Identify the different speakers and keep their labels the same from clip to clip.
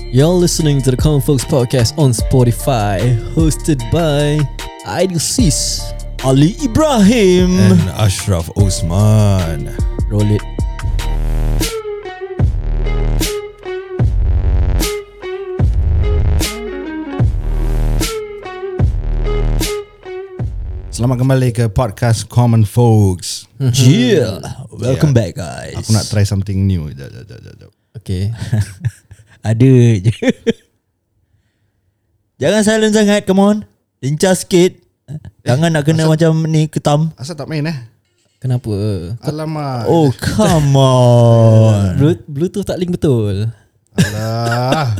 Speaker 1: You're listening to the Common Folks Podcast on Spotify, hosted by Idlesis Ali Ibrahim.
Speaker 2: and Ashraf Osman.
Speaker 1: Roll it.
Speaker 2: Selamat kembali ke podcast Common Folks.
Speaker 1: Mhm. Yeah. Welcome
Speaker 2: Yeah.
Speaker 1: back guys.
Speaker 2: Aku nak try something new. Jap, jap, jap, jap, jap.
Speaker 1: Okay. Ada je. Jangan silent sangat, come on. Lincah sikit. Jangan nak kena macam ni ketam.
Speaker 2: Asal tak main eh?
Speaker 3: Kenapa?
Speaker 2: Alamak.
Speaker 1: Oh, come on.
Speaker 3: Blu- Bluetooth tak link betul.
Speaker 2: Alah.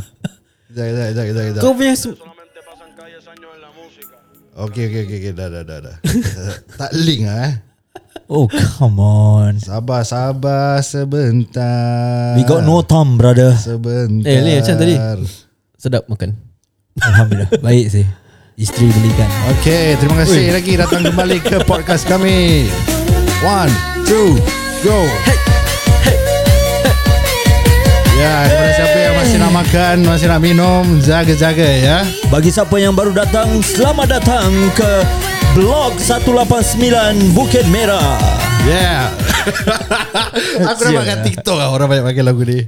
Speaker 2: Jap, jap, jap, jap, jap.
Speaker 3: Kau punya su-
Speaker 4: solamente pasan calles años en la música.
Speaker 2: Okay, okay, okay, okay. Dah, dah, dah, dah. tak link lah eh.
Speaker 1: Oh, come on.
Speaker 2: Sabar, sabar sebentar.
Speaker 1: We got no time, brother.
Speaker 2: Sebentar.
Speaker 3: Eh, Lee, macam tadi. sedap makan.
Speaker 1: Alhamdulillah. Baik sih. Isteri belikan.
Speaker 2: Okay, terima kasih lagi datang kembali ke podcast kami. One, two, go. Ya, kepada siapa yang masih nak makan, masih nak minum, jaga-jaga ya.
Speaker 1: Bagi siapa yang baru datang, selamat datang ke Blok 189 Bukit Merah.
Speaker 2: Yeah. Aku dah makan TikTok lah orang banyak pakai lagu ni.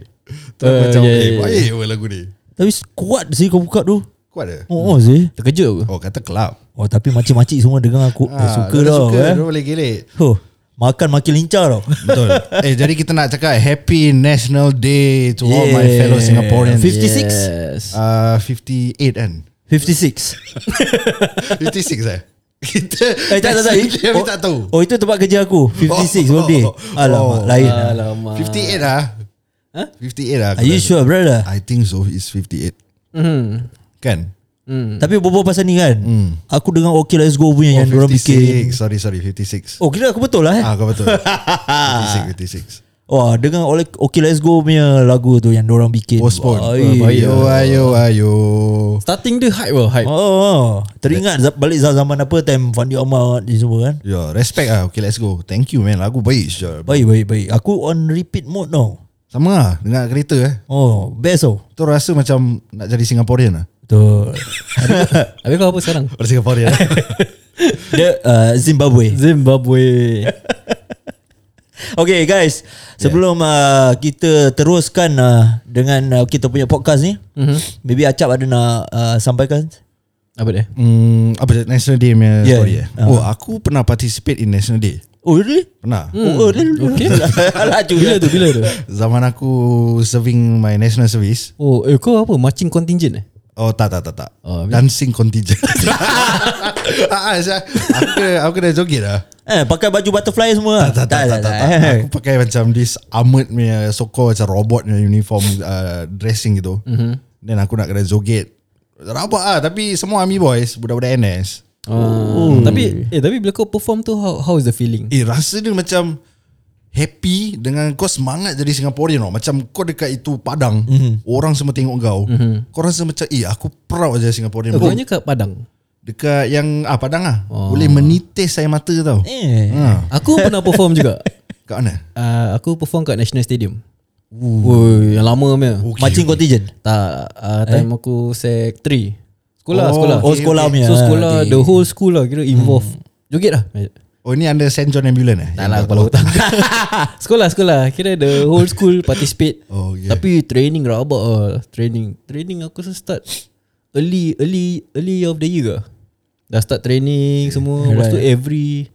Speaker 2: Tu uh, macam
Speaker 3: yeah,
Speaker 2: yeah, eh,
Speaker 3: yeah,
Speaker 2: baik yeah. lagu ni.
Speaker 1: Tapi kuat sih kau buka tu.
Speaker 2: Kuat ada.
Speaker 1: Oh, oh sih.
Speaker 3: Terkejut aku.
Speaker 2: Oh, kata club.
Speaker 1: Oh, tapi makcik-makcik semua dengar aku. Ah, suka tau.
Speaker 2: Suka,
Speaker 1: eh.
Speaker 2: dia boleh gilit.
Speaker 1: Huh, makan makin lincah tau.
Speaker 2: Betul. eh, jadi kita nak cakap Happy National Day to yeah. all my fellow Singaporeans.
Speaker 1: 56?
Speaker 3: Yes.
Speaker 2: Uh, 58 kan?
Speaker 1: 56.
Speaker 2: 56 eh? Kita
Speaker 1: Eh, tak, tak, tak.
Speaker 2: Kami tak tahu
Speaker 1: Oh, itu tempat kerja aku. 56
Speaker 2: Oh,
Speaker 1: birthday.
Speaker 2: oh, oh.
Speaker 1: Alamak, lain. lah.
Speaker 3: Alamak.
Speaker 2: 58 lah huh? 58 lah aku
Speaker 1: Are you
Speaker 2: rasa.
Speaker 1: sure, Mm-hmm. brother?
Speaker 2: I think so It's 58
Speaker 3: Mm.
Speaker 2: Kan?
Speaker 1: Tapi berbual pasal ni kan. Aku dengar okay let's go punya yang
Speaker 2: Hmm. oh,
Speaker 1: orang bikin.
Speaker 2: Sorry sorry 56 oh.
Speaker 1: Oh, kira aku betul lah eh.
Speaker 2: Ah kau betul 56 56
Speaker 1: Wah, dengar oleh Okay Let's Go punya lagu tu yang orang bikin.
Speaker 2: Postpone Ah, Ayo ayo
Speaker 1: Wah, iya.
Speaker 2: ayo, ayo.
Speaker 3: Starting dia hype lah, hype.
Speaker 1: Oh, oh, teringat za- balik za- zaman apa time Fandi Ahmad ni semua kan.
Speaker 2: Yo, respect lah Okay let's go Thank you man Lagu baik sure.
Speaker 1: Baik, baik, baik. Aku on repeat mode now.
Speaker 2: Sama lah Dengan kereta eh
Speaker 1: Oh, best oh.
Speaker 2: Tu rasa macam Nak jadi Singaporean lah
Speaker 1: Betul.
Speaker 3: Habis kau apa sekarang?
Speaker 2: Orang Singaporean
Speaker 1: Dia uh, Zimbabwe.
Speaker 3: Zimbabwe.
Speaker 1: Okay guys, sebelum uh, kita teruskan uh, dengan uh, kita punya podcast ni, mm-hmm. maybe Acap ada nak uh, sampaikan?
Speaker 3: apa dia?
Speaker 2: Hmm, apa dia, National Day punya
Speaker 1: Yeah.
Speaker 2: yeah. story eh? Uh. Oh, aku pernah participate in National Day.
Speaker 1: Oh, really?
Speaker 2: Pernah.
Speaker 1: Hmm. Oh, really? Okay. Alah,
Speaker 3: Bila
Speaker 1: juga.
Speaker 3: tu? Bila tu?
Speaker 2: Zaman aku serving my national service.
Speaker 3: Oh, eh kau apa? Marching contingent eh?
Speaker 2: Oh, tak tak tak tak.
Speaker 3: Oh, habis?
Speaker 2: Dancing contingent. ah, ah, saya- aku kena, aku kena joget lah.
Speaker 1: Eh, pakai baju butterfly semua. lah.
Speaker 2: Tak tak tak tak. tak, tak.
Speaker 1: eh.
Speaker 2: Aku pakai macam this armored punya sokong macam robot punya uniform uh, dressing gitu. Mm-hmm. Then aku nak kena joget. Rabak ah tapi semua army boys, budak-budak NS.
Speaker 3: Oh. Tapi eh tapi bila kau perform tu how, how is the feeling?
Speaker 2: Eh rasa dia macam Happy dengan kau semangat jadi Singaporean tau Macam kau dekat itu Padang
Speaker 3: Mhm.
Speaker 2: mm-hmm. Orang semua tengok kau mm-hmm. Kau rasa macam Eh aku proud jadi Singaporean
Speaker 3: Kau
Speaker 2: oh.
Speaker 3: nya kat Padang.
Speaker 2: Dekat yang ah, Padang lah oh. Boleh menitis saya mata tau eh.
Speaker 1: Eh.
Speaker 2: ha,
Speaker 3: Aku pernah perform juga.
Speaker 2: Kat mana?
Speaker 3: Uh, aku perform kat National Stadium. Woi, yang lama punya.
Speaker 2: Okay,
Speaker 1: Marching
Speaker 2: okay.
Speaker 1: contingent.
Speaker 3: Tak, uh, time aku sec 3. Sekolah,
Speaker 2: Oh,
Speaker 3: sekolah.
Speaker 1: Oh, sekolah punya.
Speaker 3: So sekolah the whole school lah kira involve. Joget lah.
Speaker 2: Oh ni under St. John Ambulance eh?
Speaker 3: Tak lah kepala otak. sekolah sekolah kira the whole school participate.
Speaker 2: Oh, okay.
Speaker 3: Tapi training rabak lah. Training. Training aku rasa start early early early of the year ke. Dah start training semua. Lepas tu every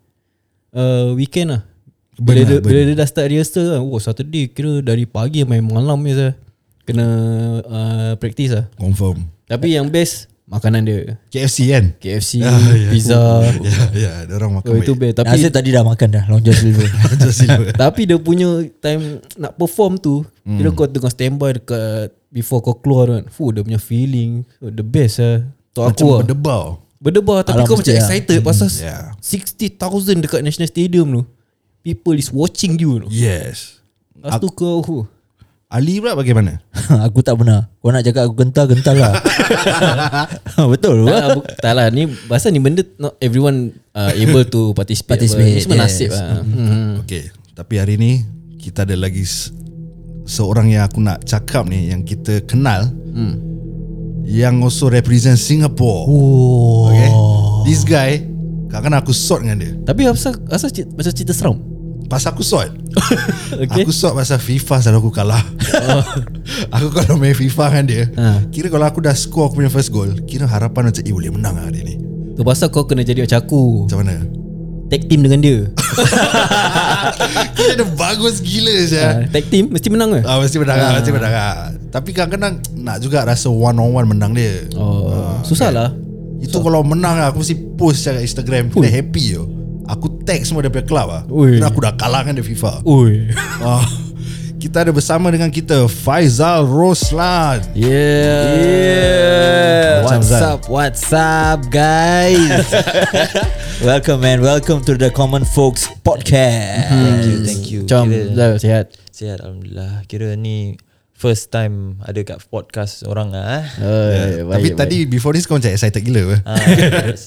Speaker 3: uh, weekend lah. Bila,
Speaker 2: Burn lah,
Speaker 3: dia,
Speaker 2: burn.
Speaker 3: bila dia dah start rehearsal kan. Oh Saturday kira dari pagi main malam je saya. Kena uh, practice lah.
Speaker 2: Confirm
Speaker 3: Tapi yang best makanan dia.
Speaker 2: KFC kan?
Speaker 3: KFC,
Speaker 2: Eh. Ah, yeah.
Speaker 3: pizza.
Speaker 2: Ya, ya, dia orang makan
Speaker 3: Oh, itu
Speaker 2: baik
Speaker 3: best.
Speaker 1: Tapi
Speaker 3: Tapi
Speaker 1: Nasib tadi dah makan dah Long John Silver.
Speaker 2: Macam silver
Speaker 3: Tapi dia punya time nak perform tu hmm. Bila kau tengah standby dekat Before kau keluar kan Fuh dia punya feeling oh, The best lah Tu aku
Speaker 2: Macam
Speaker 3: lah
Speaker 2: berdebar
Speaker 3: Berdebar tapi
Speaker 1: Alam
Speaker 3: kau macam
Speaker 1: mesti lah.
Speaker 3: excited Pasal
Speaker 2: yeah.
Speaker 3: 60,000 dekat National Stadium tu People is watching you tu
Speaker 2: Yes
Speaker 3: Lepas tu kau huh.
Speaker 2: Ali pula bagaimana?
Speaker 1: aku tak benar. Kau nak cakap aku gentar, gentar lah. Betul.
Speaker 3: tak,
Speaker 1: Wah.
Speaker 3: lah, bu- tak lah ni Pasal ni benda Not everyone uh, able to participate,
Speaker 1: Participate,
Speaker 3: Ni semua
Speaker 1: yes.
Speaker 3: nasib lah hmm.
Speaker 2: Okay Tapi hari ni Kita ada lagi s- Seorang yang aku nak cakap ni Yang kita kenal
Speaker 3: Hmm.
Speaker 2: yang also represent Singapore.
Speaker 1: Oh.
Speaker 2: Okay. This guy kadang-kadang aku sort dengan dia.
Speaker 3: Tapi asal asal cita, macam cerita seram.
Speaker 2: Pasal aku sort.
Speaker 3: Okay.
Speaker 2: Aku sort pasal FIFA selalu aku kalah. aku kalau main FIFA dengan dia,
Speaker 3: Oh. Ha.
Speaker 2: kira kalau aku dah score aku punya first goal, kira harapan macam eh boleh menang lah hari ni.
Speaker 3: Tu pasal kau kena jadi macam aku.
Speaker 2: Macam mana?
Speaker 3: Tag team dengan dia.
Speaker 2: Kira dia bagus gila saja.
Speaker 3: Ah, Tag team mesti menang ke?
Speaker 2: Ah mesti menang ah. mesti menang ah. Tapi kadang-kadang nak juga rasa one on one menang dia.
Speaker 3: Oh, susah lah.
Speaker 2: Itu kalau menang lah, aku mesti post kat Instagram. Dia happy yo. Aku tag semua dia punya club ah.
Speaker 3: Ui.
Speaker 2: Kerana aku dah kalah kan dia FIFA.
Speaker 3: Oi.
Speaker 2: Ah. Kita ada bersama dengan kita Faizal Roslan.
Speaker 3: Yeah.
Speaker 1: Yeah.
Speaker 2: What's
Speaker 1: What's
Speaker 2: up?
Speaker 1: up? What's up, guys? welcome, man. Welcome to the Common Folks Podcast.
Speaker 5: Thank
Speaker 1: Hmm.
Speaker 5: you, thank you.
Speaker 3: Macam
Speaker 5: Kira,
Speaker 3: dah sihat.
Speaker 5: sihat Alhamdulillah. Kira ni first time ada kat podcast orang lah. Eh.
Speaker 3: Eh, baik,
Speaker 2: Tapi
Speaker 3: baik.
Speaker 2: tadi before this kau macam excited gila. eh.
Speaker 5: Ah,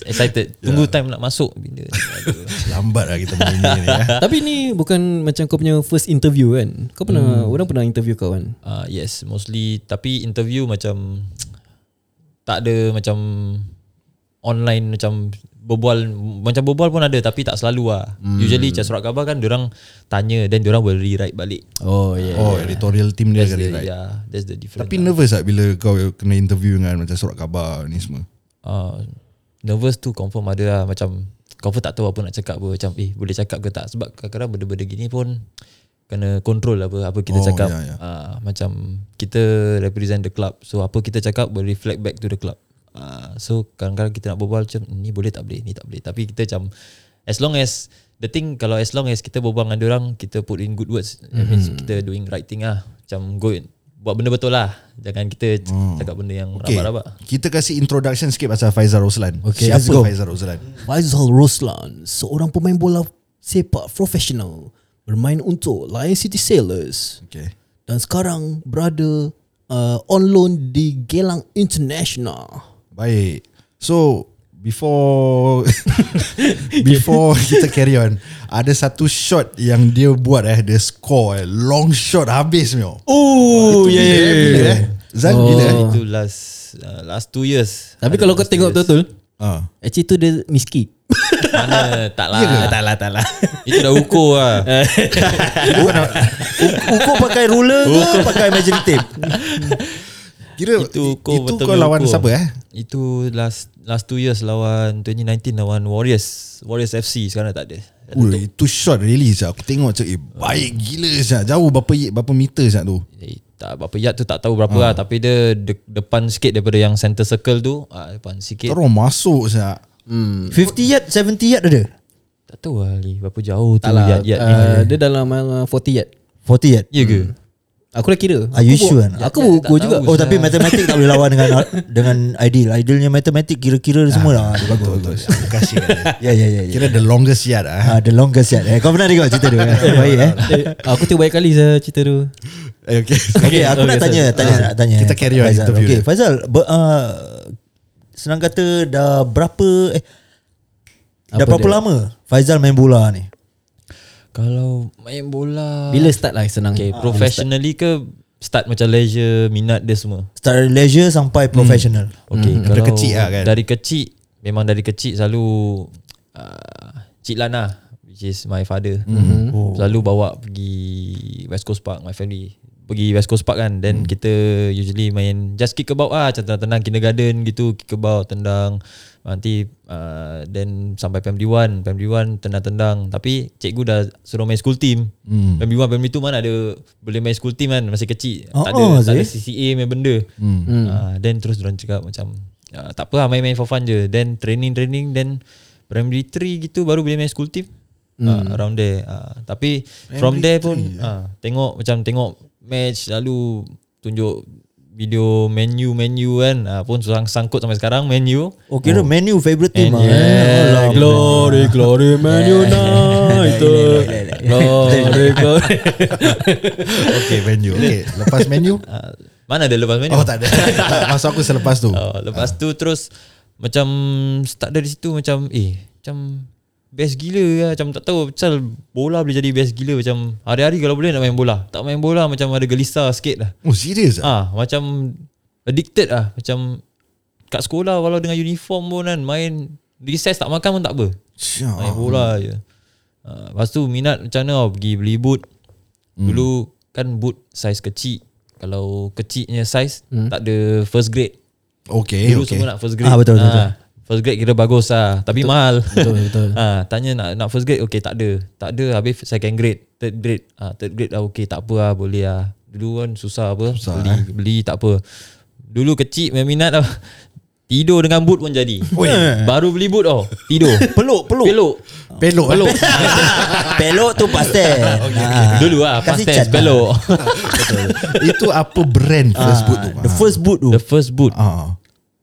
Speaker 5: excited. Tunggu time nak masuk bila. Aduh.
Speaker 2: Lambat lah kita main ni ni. ah.
Speaker 3: Tapi ni bukan macam kau punya first interview kan? Kau pernah
Speaker 5: Hmm.
Speaker 3: orang pernah interview kau kan?
Speaker 5: Ah, yes, mostly tapi interview macam tak ada macam online macam berbual macam berbual pun ada tapi tak selalu lah. Usually macam surat khabar kan orang tanya then orang will rewrite balik.
Speaker 3: Oh yeah.
Speaker 2: Oh, editorial team dia
Speaker 5: That's
Speaker 3: ya,
Speaker 2: kali
Speaker 5: the,
Speaker 2: right.
Speaker 5: Yeah, that's the difference.
Speaker 2: Tapi nervous tak bila kau kena interview dengan macam surat khabar ni semua.
Speaker 5: uh, nervous tu confirm ada lah macam confirm tak tahu apa nak cakap apa macam eh boleh cakap ke tak sebab kadang-kadang benda-benda gini pun kena control apa apa
Speaker 2: Oh,
Speaker 5: kita oh, cakap
Speaker 2: ya, ya.
Speaker 5: yeah, yeah. Uh, macam kita represent the club so apa kita cakap will reflect back to the club uh, so kadang-kadang kita nak berbual macam ni boleh tak boleh ni tak boleh tapi kita macam as long as the thing kalau as long as kita berbual dengan orang kita put in good words mm-hmm. that means kita doing right thing lah macam go buat benda betul lah jangan kita cakap benda yang
Speaker 2: Hmm. Okay.
Speaker 5: rabak-rabak
Speaker 2: Kita kasih introduction sikit pasal Faizal Roslan.
Speaker 3: Okay,
Speaker 2: Siapa
Speaker 3: let's go.
Speaker 2: Faizal Roslan?
Speaker 3: Faizal Roslan, seorang pemain bola sepak profesional, bermain untuk Lion City Sailors
Speaker 2: Okay.
Speaker 3: dan sekarang berada uh, on loan di Gelang International.
Speaker 2: Baik. So before before kita carry on, ada satu shot yang dia buat eh, dia score eh, long shot habis mio.
Speaker 3: Oh,
Speaker 2: Bila, eh, bila eh? Zan oh. bila? eh?
Speaker 5: Itu last uh, last two years.
Speaker 3: Tapi
Speaker 5: Ada
Speaker 3: kalau kau
Speaker 5: last
Speaker 3: tengok
Speaker 5: two years.
Speaker 3: betul,
Speaker 2: Ah.
Speaker 3: actually tu dia miski.
Speaker 5: mana tak lah.
Speaker 3: tak lah, tak lah.
Speaker 5: Itu dah ukur lah.
Speaker 1: Ukur pakai ruler ke pakai measuring tape?
Speaker 2: Kira
Speaker 5: itu
Speaker 2: itu,
Speaker 5: ukur
Speaker 2: itu
Speaker 5: betul
Speaker 2: kau lawan
Speaker 5: ukur.
Speaker 2: siapa eh?
Speaker 5: Itu last last two years lawan 2019 lawan Warriors Warriors FC sekarang dah tak ada.
Speaker 2: Ui, itu shot really sah. Aku tengok cak, eh, baik gila sah. Jauh berapa berapa meter sah tu?
Speaker 5: Eh, tak berapa yard tu tak tahu berapa
Speaker 2: Ah.
Speaker 5: lah tapi dia de- depan sikit daripada yang center circle tu ah, depan sikit
Speaker 2: Terus masuk sah. Hmm.
Speaker 1: 50 yard, 70 yard ada?
Speaker 5: tak tahu lah Ali berapa jauh tu
Speaker 3: Tak lah,
Speaker 5: yard yard ni.
Speaker 3: uh, dia dalam uh, 40 yard.
Speaker 1: 40 yard?
Speaker 5: Ya ke?
Speaker 3: Aku dah kira.
Speaker 1: Are you
Speaker 3: Aku
Speaker 1: sure?
Speaker 3: buat- Aku buku
Speaker 5: tak
Speaker 3: juga.
Speaker 5: tahu.
Speaker 1: Oh tapi matematik tak boleh lawan dengan dengan ideal. Idealnya matematik kira-kira semua lah. Dia bagus.
Speaker 2: Betul, betul. Aku kasih. kat dia.
Speaker 1: Ya ya ya. ya.
Speaker 2: Kira the longest yard ah.
Speaker 1: Ah, the longest yard. Eh, kau pernah tengok cerita tu? Eh? Baik eh.
Speaker 3: Eh, aku tengok banyak kali saya cerita tu.
Speaker 2: Eh, okay.
Speaker 1: Okay, aku
Speaker 3: okay,
Speaker 1: nak tanya,
Speaker 3: sorry.
Speaker 1: tanya, nak tanya.
Speaker 2: Kita carry on
Speaker 1: Faizal.
Speaker 2: interview
Speaker 1: Okay,
Speaker 2: dia.
Speaker 1: Faizal, ber, uh, senang kata dah berapa eh dah
Speaker 3: Apa
Speaker 1: berapa
Speaker 3: dia?
Speaker 1: lama Faizal main bola ni?
Speaker 5: Kalau main bola
Speaker 3: Bila start lah senang.
Speaker 5: okay,
Speaker 3: Ah,
Speaker 5: professionally ke start macam leisure minat dia semua?
Speaker 1: Start dari leisure sampai professional.
Speaker 5: Okay, hmm,
Speaker 2: daripada
Speaker 5: kalau
Speaker 2: kecil lah kan?
Speaker 5: Dari kecil memang dari kecil selalu uh, Cik Lan lah which is my father. Mm-hmm. Oh. Selalu bawa pergi West Coast Park my family. Pergi West Coast Park kan then kita usually main just kick about ah macam tendang kindergarten gitu kick about tendang nanti uh, then sampai family one family one tendang-tendang tapi cikgu dah suruh main school team mm. family one family two mana ada boleh main school team kan masa kecil
Speaker 1: Oh,
Speaker 5: tak ada
Speaker 1: oh,
Speaker 5: tak ada
Speaker 1: Zee.
Speaker 5: CCA main benda Eh? hmm. uh, Then terus diorang cakap macam uh, Tak apa lah main-main for fun je Then training-training Then primary 3 gitu Baru boleh main school team hmm. uh, Around there uh, Tapi primary from there pun uh, Tengok macam tengok match Lalu tunjuk video menu menu kan uh, Pun sang sangkut sampai sekarang menu
Speaker 1: Oh, kira menu favorite team ah.
Speaker 3: Yeah, glory, glory, Man United.
Speaker 5: Oh.
Speaker 3: Glory, glory.
Speaker 2: Okay menu okay. Lepas menu
Speaker 5: uh, Mana ada lepas menu
Speaker 2: Oh tak ada Tak, Maksud aku selepas tu
Speaker 5: Uh, lepas tu terus macam start dari situ macam eh macam best gila lah. Macam tak tahu pasal bola boleh jadi best gila macam hari-hari kalau boleh nak main bola. Tak main bola macam ada gelisah sikit lah.
Speaker 2: Oh serius ah?
Speaker 5: Ah macam addicted lah macam kat sekolah walau dengan uniform pun kan main recess tak makan pun tak apa. Main
Speaker 2: Syah.
Speaker 5: bola je. Uh, lepas tu minat macam mana tau, pergi beli boot. Hmm. Dulu kan boot saiz kecil. Kalau kecilnya saiz hmm. tak ada first grade.
Speaker 2: Okay,
Speaker 5: Dulu Eh, okay.
Speaker 2: okay.
Speaker 5: semua nak first grade.
Speaker 1: Ah, betul, betul,
Speaker 5: Ah, First grade kira bagus lah tapi betul, mahal.
Speaker 3: Betul betul.
Speaker 5: Ah, tanya nak nak first grade okay tak ada. Tak ada habis second grade, third grade. Ah, third grade lah okay tak apa lah boleh lah. Dulu kan susah apa susah, beli eh. beli tak apa. Dulu kecil main minat lah. Tidur dengan boot pun jadi. Baru beli boot oh, tidur.
Speaker 1: Peluk, peluk.
Speaker 5: Peluk.
Speaker 2: Pelok
Speaker 5: Ah. Peluk.
Speaker 1: peluk tu Ah. pastel. okay,
Speaker 5: Dulu lah past tense peluk.
Speaker 2: Itu apa brand first boot tu
Speaker 1: The first boot tu.
Speaker 5: Ah, The first boot.
Speaker 2: ah.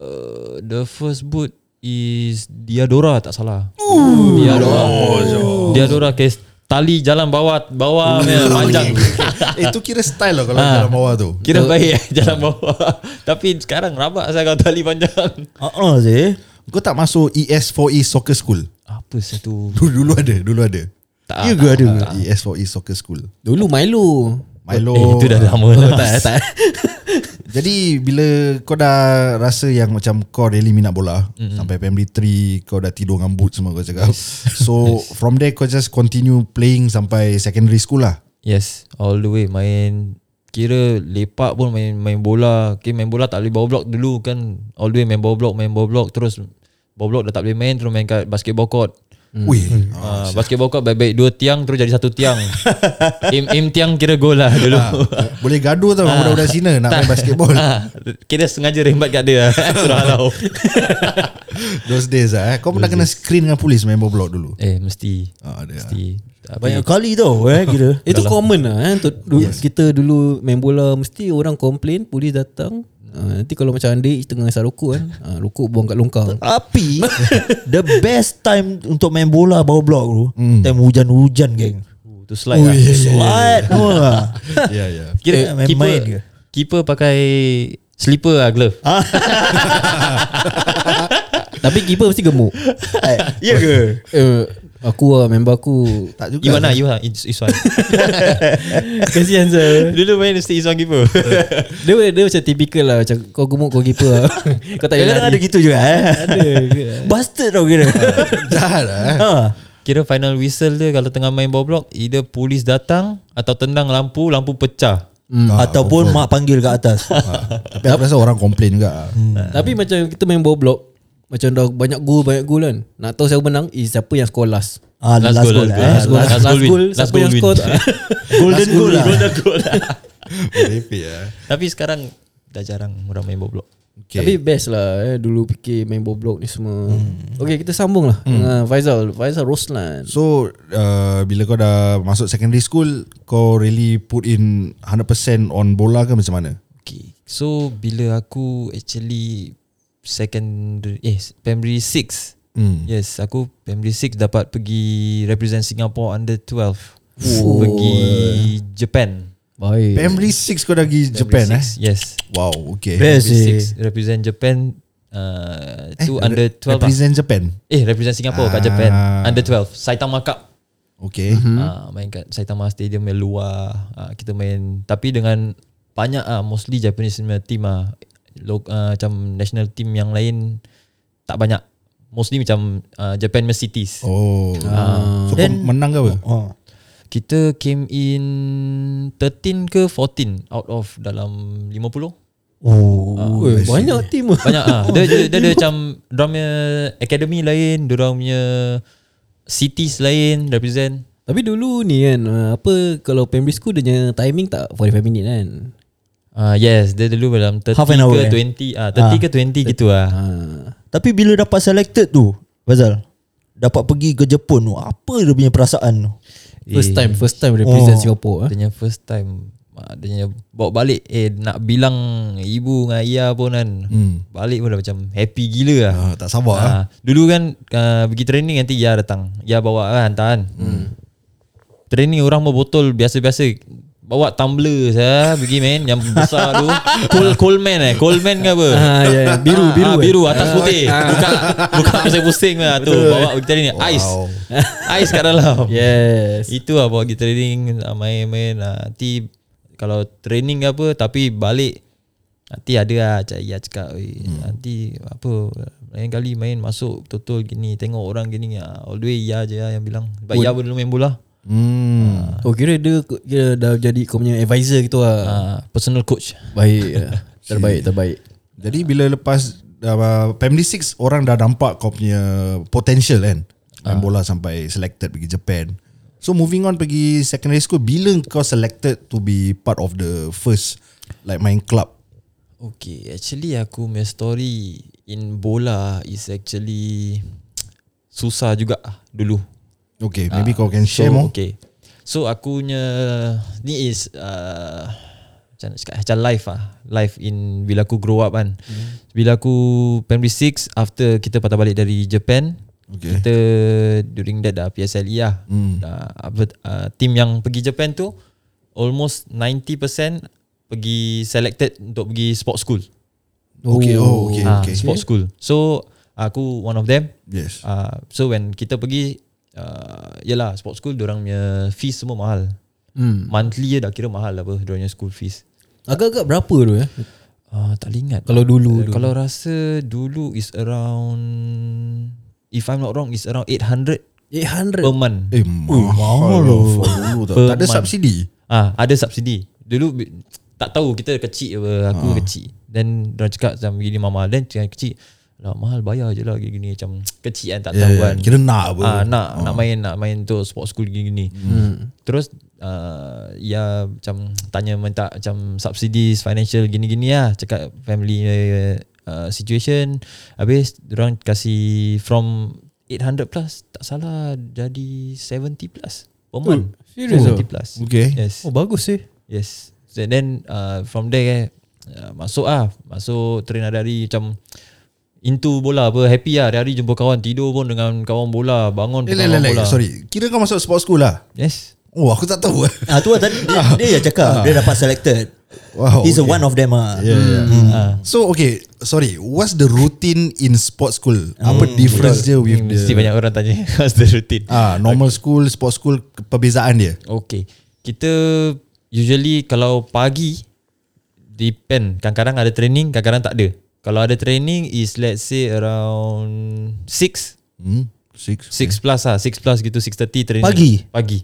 Speaker 5: Uh, the first boot is Diadora tak salah. Diadora. Diadora case tali jalan bawah bawah punya panjang.
Speaker 2: Eh tu kira style lah Kalau
Speaker 5: Ah.
Speaker 2: dalam bawah tu
Speaker 5: Kira baik eh, jalan bawah. Tapi sekarang rabak saya kalau tali panjang.
Speaker 1: Ah, uh, sih.
Speaker 2: Kau tak masuk E ES4E Soccer School
Speaker 5: Apa satu
Speaker 2: Dulu, dulu ada Dulu ada
Speaker 5: Tak,
Speaker 2: Ya ke ada ES4E E Soccer School
Speaker 3: Dulu Milo. Oh,
Speaker 2: Milo
Speaker 5: Eh, itu dah lama lah. tak, tak.
Speaker 2: Jadi bila kau dah rasa yang macam kau really minat bola mm-hmm. Sampai primary 3 kau dah tidur dengan boot semua kau cakap So from there kau just continue playing sampai secondary school lah
Speaker 5: Yes, all the way main kira lepak pun main main bola. Okay, main bola tak boleh bawa blok dulu kan. All the way main bawa blok, main bawa blok terus bawa blok dah tak boleh main terus main kat basketball court.
Speaker 2: mm. Weh
Speaker 5: Ah, basketball court baik-baik dua tiang terus jadi satu tiang. im im tiang kira gol lah dulu.
Speaker 2: Boleh gaduh tau dengan budak-budak Cina nak main basketball
Speaker 5: Ah, kira sengaja rembat kat dia. Surah halau.
Speaker 2: Those days lah eh. Kau pernah kena screen dengan polis main bola dulu
Speaker 5: eh mesti.
Speaker 2: ah, ada.
Speaker 5: Mesti. Tapi-
Speaker 1: Banyak kali tau eh kira.
Speaker 3: Itu common lah eh. Untuk du- Kita dulu main bola Mesti orang complain Polis datang uh, Nanti kalau macam underage Tengah asal rokok kan uh, Rokok buang kat longkang
Speaker 1: Tapi the best time untuk main bola bawah blok tu, mm. time hujan-hujan geng.
Speaker 5: Oh, Tu slide lah.
Speaker 1: Slide semua lah.
Speaker 2: Ya ya
Speaker 1: Eh,
Speaker 5: Kira
Speaker 1: main-
Speaker 5: keeper
Speaker 1: main ke?
Speaker 5: keeper pakai slipper lah glove.
Speaker 3: Tapi keeper mesti gemuk
Speaker 1: Eh, Ya ke?
Speaker 3: uh, Aku lah member aku
Speaker 2: Tak juga
Speaker 5: Iwan lah, Iwan. Is- Iswan.
Speaker 3: Kesian saya
Speaker 5: Dulu main mesti Iswan keeper.
Speaker 3: dia, dia macam typical lah Macam kau gemuk kau keeper lah Kau tak boleh
Speaker 1: Kadang-kadang ada
Speaker 3: lari
Speaker 1: gitu juga eh.
Speaker 3: Ada ke?
Speaker 1: Bastard tau kira.
Speaker 2: Jahat lah eh.
Speaker 1: ha.
Speaker 5: Ah, Kira final whistle dia kalau tengah main ball block either polis datang atau tendang lampu, lampu pecah.
Speaker 1: Hmm. Ha. Ataupun mak panggil kat atas.
Speaker 2: Tapi aku rasa orang complain juga
Speaker 3: Tapi macam kita main bawah blok Macam dah banyak goal Banyak goal kan Nak tahu siapa menang Is siapa yang score last
Speaker 1: Ah, last, last goal, lah.
Speaker 5: last
Speaker 1: Eh.
Speaker 5: goal,
Speaker 3: Last, last
Speaker 5: win.
Speaker 3: goal
Speaker 5: Last
Speaker 3: Siapa
Speaker 5: goal
Speaker 3: yang
Speaker 5: win.
Speaker 3: score
Speaker 1: Golden goal lah.
Speaker 2: Merepek lah
Speaker 5: Tapi sekarang dah jarang orang main ball block.
Speaker 3: Okay.
Speaker 2: Okay.
Speaker 3: Tapi best lah eh. Dulu fikir main ball block ni semua hmm. Okay kita sambung lah hmm. Dengan Faizal Faizal Roslan
Speaker 2: So uh, Bila kau dah Masuk secondary school Kau really put in 100% on bola ke macam mana
Speaker 5: Okay. So bila aku actually secondary eh primary 6.
Speaker 2: Hmm.
Speaker 5: Yes, aku primary 6 dapat pergi represent Singapore under 12. Oh. Pergi Japan.
Speaker 3: Baik
Speaker 2: Primary 6 kau dah pergi Japan eh
Speaker 5: Yes.
Speaker 2: Wow okay
Speaker 1: Best
Speaker 5: Primary
Speaker 1: eh.
Speaker 5: six, represent Japan uh, tu
Speaker 2: re-
Speaker 5: under 12 lah.
Speaker 2: Eh, Represent Japan
Speaker 5: Eh represent Singapore kat Japan
Speaker 2: Ah.
Speaker 5: Under 12 Saitama Cup
Speaker 2: Okay
Speaker 5: hmm.
Speaker 3: Ah.
Speaker 5: uh, Main kat Saitama Stadium yang luar uh, Kita main Tapi dengan Banyak ah Mostly Japanese punya team ah Lo, uh, Macam national team yang lain Tak banyak Mostly macam uh, Japan punya cities oh.
Speaker 2: Oh So
Speaker 1: Then-
Speaker 2: kau menang ke apa
Speaker 1: Oh.
Speaker 5: Kita came in 13 ke 14 Out of dalam 50
Speaker 1: Oh.
Speaker 3: oh, Banyak team lah
Speaker 5: Banyak ah. Dia dia, dia, dia macam drama academy lain, dorang punya cities lain represent.
Speaker 3: Tapi dulu ni kan ah, Apa Kalau primary school Dia punya timing tak 45 minit kan
Speaker 5: Ah uh, yes, dia dulu dalam 30
Speaker 1: Half
Speaker 5: Half
Speaker 1: an hour, eh?
Speaker 5: ke 20 ah 30 ke 20 gitu ah.
Speaker 3: ha.
Speaker 1: Tapi bila dapat selected tu, Fazal, dapat pergi ke Jepun tu, apa dia punya perasaan tu?
Speaker 3: First time First time represent oh. Singapore
Speaker 5: Dia
Speaker 3: eh.
Speaker 5: punya first time ah, dia punya bawa balik eh nak bilang ibu dengan ayah pun kan. Hmm. Balik pun dah macam happy gila ah.
Speaker 2: Ah, Tak sabar ah.
Speaker 5: Ah, dulu kan uh, pergi training nanti Ya datang. Ya bawa kan hantar kan. Hmm. Training orang bawa botol biasa-biasa bawa tumbler saya pergi main yang besar tu. Cold Coleman eh. Coleman ke apa?
Speaker 3: Ah, ya, ya. Biru
Speaker 5: Ah,
Speaker 3: biru
Speaker 5: ah,
Speaker 3: eh.
Speaker 5: biru atas putih. Buka buka pusing-pusing lah tu bawa pergi training. Ais. Ais kat dalam.
Speaker 3: Yes
Speaker 5: Itu lah bawa pergi training ah, Main-main ah, Nanti Kalau training ke apa Tapi balik Nanti ada lah Cik Ia cakap hmm. Nanti apa Lain kali main masuk Betul-betul gini Tengok orang gini ah. All the way Ia je lah yang bilang Sebab Ia belum main bola Ah.
Speaker 2: Hmm.
Speaker 3: Oh kira dia kira dah jadi kau punya advisor gitu lah.
Speaker 5: ah, Personal coach
Speaker 3: Baik lah. Terbaik terbaik.
Speaker 2: Jadi bila lepas uh, Family Six orang dah nampak kau punya potential kan.
Speaker 5: Ah.
Speaker 2: Main bola sampai selected pergi Japan. So moving on pergi secondary school bila kau selected to be part of the first like main club.
Speaker 5: Okay Actually aku punya story In bola Is actually Susah juga ah, Dulu
Speaker 2: Okay, maybe
Speaker 5: Ah.
Speaker 2: kau can share more.
Speaker 5: Okay. So aku punya ni is uh, macam nak cakap macam life ah. Life in bila aku grow up kan.
Speaker 2: Mm-hmm.
Speaker 5: Mm. Bila aku primary 6 after kita patah balik dari Japan,
Speaker 2: Okay. Mm-hmm. Hmm.
Speaker 5: kita during that dah PSLE lah. Mm. Dah, apa, uh, team yang pergi Japan tu almost 90% pergi selected untuk pergi sport school.
Speaker 2: Okay, oh, okay,
Speaker 5: Ah,
Speaker 2: okay.
Speaker 5: Sport school. So aku one of them.
Speaker 2: Yes.
Speaker 5: Uh, so when kita pergi uh, Yelah sport school Diorang punya fees semua mahal
Speaker 3: Hmm.
Speaker 5: Monthly je dah kira mahal lah apa Diorang punya school fees
Speaker 3: Agak-agak berapa tu eh?
Speaker 5: uh, Tak boleh ingat
Speaker 3: Kalau dulu
Speaker 5: uh,
Speaker 3: tu.
Speaker 5: Kalau rasa dulu is around If I'm not wrong is around 800
Speaker 3: 800.
Speaker 5: per month
Speaker 2: Eh, mahal lah for dulu tau.
Speaker 5: Per
Speaker 2: Tak ada
Speaker 5: month.
Speaker 2: subsidi.
Speaker 5: Ah, Ada subsidi Dulu bi- tak tahu kita kecil apa Aku kecil Then diorang cakap macam gini mama Then cakap kecil lah, mahal bayar je lah gini-gini Macam kecil kan tak tahu
Speaker 2: Yeah,
Speaker 5: kan
Speaker 2: Ya, Kira nak apa. Oh.
Speaker 5: Ah, nak nak main nak main tu sport school gini gini. Hmm. Terus uh, ya macam tanya minta macam subsidies financial gini gini lah cakap family uh, situation habis orang kasih from 800 plus tak salah jadi 70 plus per month.
Speaker 3: serious ah?
Speaker 5: 70 plus.
Speaker 2: Okay.
Speaker 5: Yes.
Speaker 3: Oh bagus sih.
Speaker 5: Yes. So then uh, from there uh, masuk ah, masuk train hari-hari macam into bola apa happy lah hari-hari jumpa kawan tidur pun dengan kawan bola bangun
Speaker 2: Eh, lek, lek,
Speaker 5: dengan kawan
Speaker 2: lek,
Speaker 5: bola.
Speaker 2: sorry. Kira kau masuk sport school lah.
Speaker 5: Yes.
Speaker 2: Oh, aku tak tahu.
Speaker 1: Ah tu lah tadi dia, dia yang cakap dia dapat selected.
Speaker 2: Wow,
Speaker 1: He's a
Speaker 2: okay.
Speaker 1: one of them ah.
Speaker 2: Yeah, yeah. So okay, sorry. What's the routine in sports school? Apa difference dia with
Speaker 5: Hmm, Mesti
Speaker 2: the
Speaker 5: banyak orang tanya what's the routine.
Speaker 2: ah normal school, sports school perbezaan dia?
Speaker 5: Okay. Kita usually kalau pagi depend kadang-kadang ada training, kadang-kadang tak ada. Kalau ada training is let's say around 6
Speaker 2: Hmm, six.
Speaker 5: 6 plus lah 6 plus gitu 6.30 training
Speaker 1: Pagi?
Speaker 5: Pagi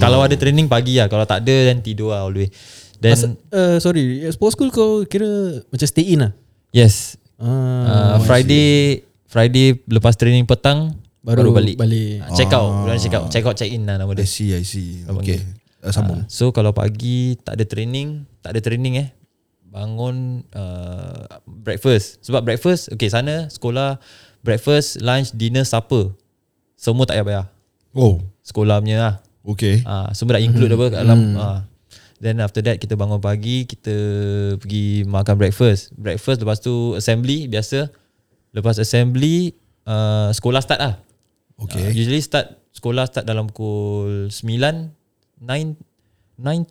Speaker 5: Kalau ada training pagi lah Kalau tak ada Then tidur lah all the way Then
Speaker 3: Masa, uh, sorry, sports school kau kira macam stay in lah.
Speaker 5: Yes
Speaker 3: Ah,
Speaker 5: uh, Friday Friday Lepas training petang
Speaker 3: Baru
Speaker 5: Baru, balik,
Speaker 3: balik.
Speaker 5: Ah, Check out Orang check out Check out check in lah nama
Speaker 2: I
Speaker 5: dia
Speaker 2: see, I see. Okay, uh, Eh, sambung.
Speaker 5: Ah, So kalau pagi Tak ada training Tak ada training eh Bangun uh, Breakfast Sebab breakfast Okay sana Sekolah Breakfast Lunch Dinner Supper Semua tak payah bayar
Speaker 2: Oh,
Speaker 5: Sekolah punya lah
Speaker 2: okay.
Speaker 5: Ah, semua dah
Speaker 2: Hmm.
Speaker 5: include apa kat dalam ah. Then after that kita bangun pagi, kita pergi makan breakfast. Breakfast lepas tu assembly biasa. Lepas assembly uh, sekolah start lah.
Speaker 2: Okay.
Speaker 5: Ah, usually start sekolah start dalam pukul 9 9 9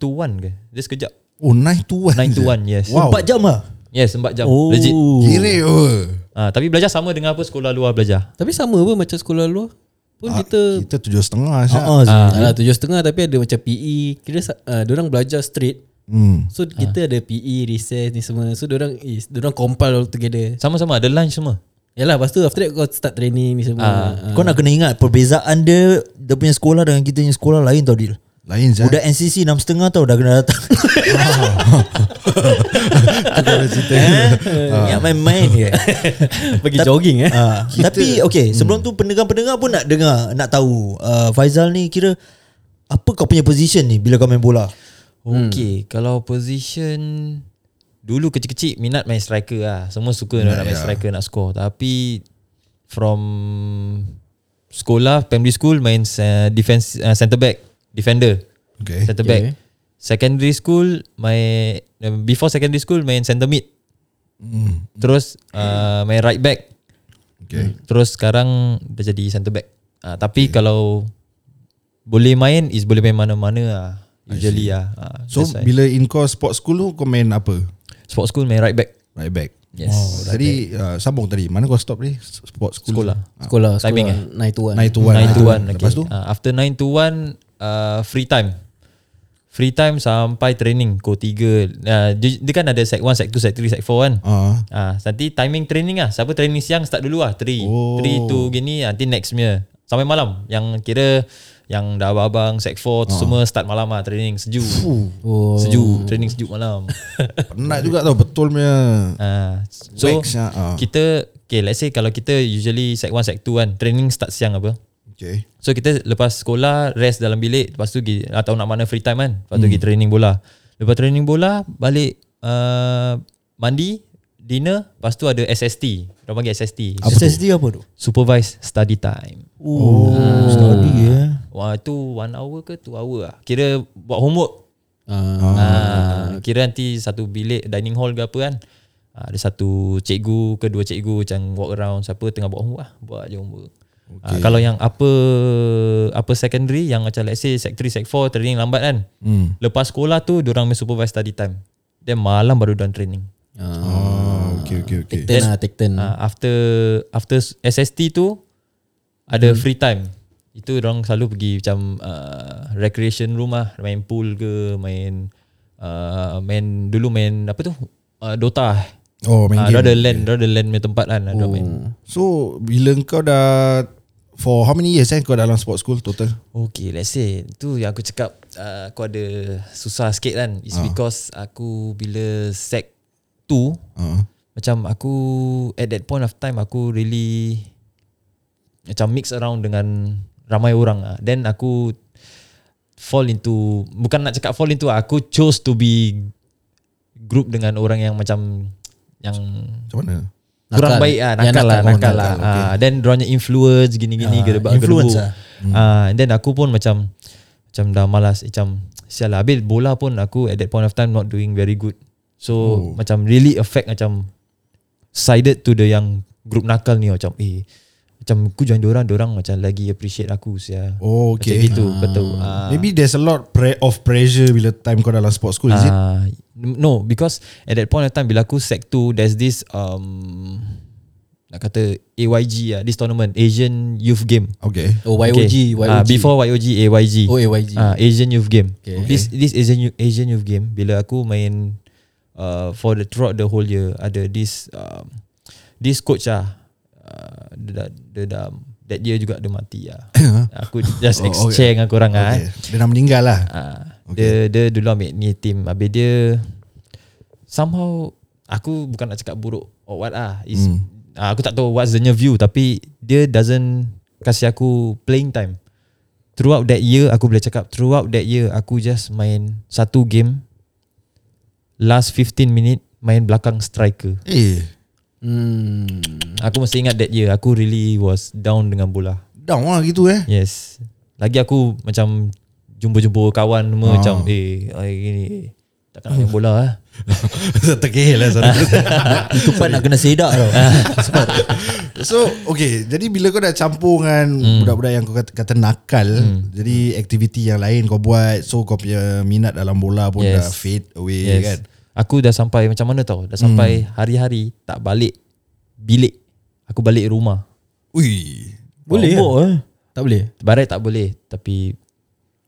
Speaker 5: to 1 ke? Dia sekejap.
Speaker 2: Oh, nine to one.
Speaker 5: 9 to
Speaker 2: je.
Speaker 5: 1 yes.
Speaker 2: Wow.
Speaker 1: Empat jam ah.
Speaker 5: Yes, 4 jam. Oh. Legit.
Speaker 2: Kira oh.
Speaker 5: Ah, tapi belajar sama dengan apa sekolah luar belajar.
Speaker 3: Tapi sama pun macam sekolah luar pun
Speaker 2: Ah,
Speaker 3: kita
Speaker 2: kita tujuh setengah saja.
Speaker 1: Ah, ah.
Speaker 3: Ah, lah tujuh setengah tapi ada macam PE kira uh, orang belajar straight
Speaker 2: Hmm.
Speaker 5: Ah.
Speaker 3: so kita ada PE recess ni semua so orang is orang compile all together
Speaker 5: Sama-sama ada lunch semua.
Speaker 3: yalah lepas tu after that kau start training ni semua
Speaker 5: Ah,
Speaker 3: Ah.
Speaker 1: Kau nak kena ingat perbezaan dia dia punya sekolah dengan kita punya sekolah lain tau Dil.
Speaker 2: Lain saja.
Speaker 1: Budak NCC 6.30 tau dah kena datang. Ya main-main je.
Speaker 3: pergi jogging eh
Speaker 1: Ah, tapi okay sebelum tu pendengar-pendengar pun nak dengar nak tahu uh, Faizal ni kira apa kau punya position ni bila kau main bola?
Speaker 5: Okay hmm. Kalau position Dulu kecil-kecil Minat main striker lah Semua suka nak main striker Nak score Tapi From Sekolah Primary school Main uh, defense uh, Centre back Defender
Speaker 2: Eh, Okay.
Speaker 5: Centre
Speaker 3: Okay.
Speaker 5: back Secondary school Main uh, Before secondary school Main centre mid
Speaker 2: Hmm.
Speaker 5: Terus uh, Main right back
Speaker 2: Okay.
Speaker 5: Terus sekarang Dah jadi centre back uh, Tapi kalau Boleh main Is boleh main mana-mana lah Usually lah uh,
Speaker 2: So bila in kau sport school tu kau main apa?
Speaker 5: Sport school main right back
Speaker 2: Right back.
Speaker 5: Yes.
Speaker 2: Oh, tadi uh, sambung tadi. Mana kau stop tadi? Sport school. Ah,
Speaker 5: Sekolah.
Speaker 3: sekolah sekolah
Speaker 5: Timing, eh?
Speaker 3: 9 to 1
Speaker 2: Nine to one.
Speaker 5: 9 to 1 okay. Ah.
Speaker 2: Lepas tu?
Speaker 5: uh, After 9 to 1 uh, Free time Free time sampai training Kau tiga uh, dia, dia kan ada sec 1, sec 2, sec 3, sec 4 kan
Speaker 2: Ah.
Speaker 5: Ah, nanti timing training lah. Siapa training siang start dulu lah. 3.
Speaker 2: Oh.
Speaker 5: Oh. 3 tu gini nanti next punya. Sampai malam. Yang kira yang dah abang-abang sec
Speaker 2: Ah.
Speaker 5: 4 tu semua start malam lah training sejuk.
Speaker 3: Oh.
Speaker 5: Sejuk, training sejuk malam.
Speaker 2: Penat juga tau betul punya.
Speaker 5: ah, so
Speaker 2: Wax lah, ah.
Speaker 5: kita okay, let's say kalau kita usually sec 1 sec 2 kan training start siang apa.
Speaker 2: Okay.
Speaker 5: So kita lepas sekolah rest dalam bilik, lepas tu pergi atau nak mana free time kan. Lepas tu pergi training bola. Lepas training bola balik uh, mandi, dinner, lepas tu ada SST. Orang panggil SST.
Speaker 1: SSD apa tu?
Speaker 5: Supervised study time.
Speaker 1: Oh, study eh.
Speaker 5: Wah tu one hour ke two hour lah. Kira buat homework.
Speaker 3: Ah.
Speaker 5: Ah, kira nanti satu bilik dining hall ke apa kan. Ah, ada satu cikgu ke dua cikgu macam walk around siapa tengah buat homework lah. Buat je homework. Okay. kalau yang apa apa secondary yang macam let's say sec 3 sec 4 training lambat kan.
Speaker 2: Hmm.
Speaker 5: Lepas sekolah tu dia orang supervise study time. Then malam baru dan training.
Speaker 2: Ah, okay, okay,
Speaker 3: Take
Speaker 2: okay.
Speaker 3: turn lah, take turn.
Speaker 2: Ah.
Speaker 5: Uh, after after SST tu ada
Speaker 2: Hmm.
Speaker 5: free time. Itu orang selalu pergi macam uh, recreation room lah, main pool ke, main uh, main dulu main apa tu? Uh, Dota.
Speaker 2: Oh, main
Speaker 5: Ah,
Speaker 2: game.
Speaker 5: dia ada land, dia ada land punya tempat kan, ada main.
Speaker 2: So, bila kau dah for how many years eh kau dalam sport school total?
Speaker 5: Okay, let's say tu yang aku cakap uh, aku ada susah sikit kan. It's
Speaker 2: Ah.
Speaker 5: uh. because aku bila sec 2
Speaker 2: Ah.
Speaker 5: macam aku at that point of time aku really macam mix around dengan ramai orang ah. Then aku fall into bukan nak cakap fall into ah, aku chose to be group dengan orang yang macam yang
Speaker 2: Macam mana?
Speaker 5: kurang
Speaker 3: Nakal.
Speaker 5: baik ah,
Speaker 3: Yang
Speaker 5: nakal
Speaker 3: nakal.
Speaker 5: lah,
Speaker 3: Oh,
Speaker 5: nakal lah.
Speaker 2: nakal, okay.
Speaker 5: Ah, then dorangnya influence gini-gini
Speaker 1: Ah,
Speaker 5: gerbak
Speaker 1: influence
Speaker 5: gerbuk.
Speaker 1: ah.
Speaker 5: Ah, then aku pun macam macam dah malas, eh, macam sial lah. Habis bola pun aku at that point of time not doing very good. So macam really affect macam sided to the yang group nakal ni macam eh macam aku join orang orang macam lagi appreciate aku sia.
Speaker 2: Oh,
Speaker 5: Macam
Speaker 2: okay.
Speaker 5: gitu betul. Ah.
Speaker 2: Maybe there's a lot pre- of pressure bila time kau dalam sport school, is it?
Speaker 5: Ah, no, because at that point of time bila aku sec 2, there's this um nak kata AYG ah, this tournament Asian Youth Game.
Speaker 2: Okay.
Speaker 3: Oh, YOG, YOG.
Speaker 5: Ah, before YOG AYG.
Speaker 3: Oh, AYG.
Speaker 5: Ah, Asian Youth Game.
Speaker 3: Okay.
Speaker 5: This this Asian Youth- Asian Youth Game bila aku main uh, for the throughout the whole year ada this um, this coach ah uh, dia dah, dia dah um, that year juga dia mati ah. aku just
Speaker 2: Oh, okay.
Speaker 5: exchange dengan korang ah. eh.
Speaker 2: Okay. Dia dah meninggal lah.
Speaker 5: Ah, okay. Dia dia dulu ambil ni team Habis dia Somehow Aku bukan nak cakap buruk Or what ah, is, mm. ah Aku tak tahu what's the new view Tapi Dia doesn't Kasih aku playing time Throughout that year Aku boleh cakap Throughout that year Aku just main Satu game Last 15 minute Main belakang striker
Speaker 2: Eh,
Speaker 3: Hmm.
Speaker 5: Aku masih ingat that year Aku really was down dengan bola
Speaker 2: down lah gitu eh.
Speaker 5: Yes. Lagi aku macam jumpa-jumpa kawan semua macam eh hari gini eh, tak nak main bola ah.
Speaker 2: Terkehel lah sana.
Speaker 1: Itu part nak kena sedak tau.
Speaker 2: So okay Jadi bila kau dah campur dengan
Speaker 5: Hmm.
Speaker 2: Budak-budak yang kau kata, kata nakal Jadi aktiviti yang lain kau buat So kau punya minat dalam bola pun yes.
Speaker 5: Yes.
Speaker 2: dah fade away yes.
Speaker 5: Yes.
Speaker 2: kan
Speaker 5: Aku dah sampai macam mana tau? Dah sampai hari-hari tak balik bilik. Aku balik rumah.
Speaker 2: Ui
Speaker 3: Boleh
Speaker 1: Homework, eh.
Speaker 3: Tak boleh?
Speaker 5: Barat tak boleh tapi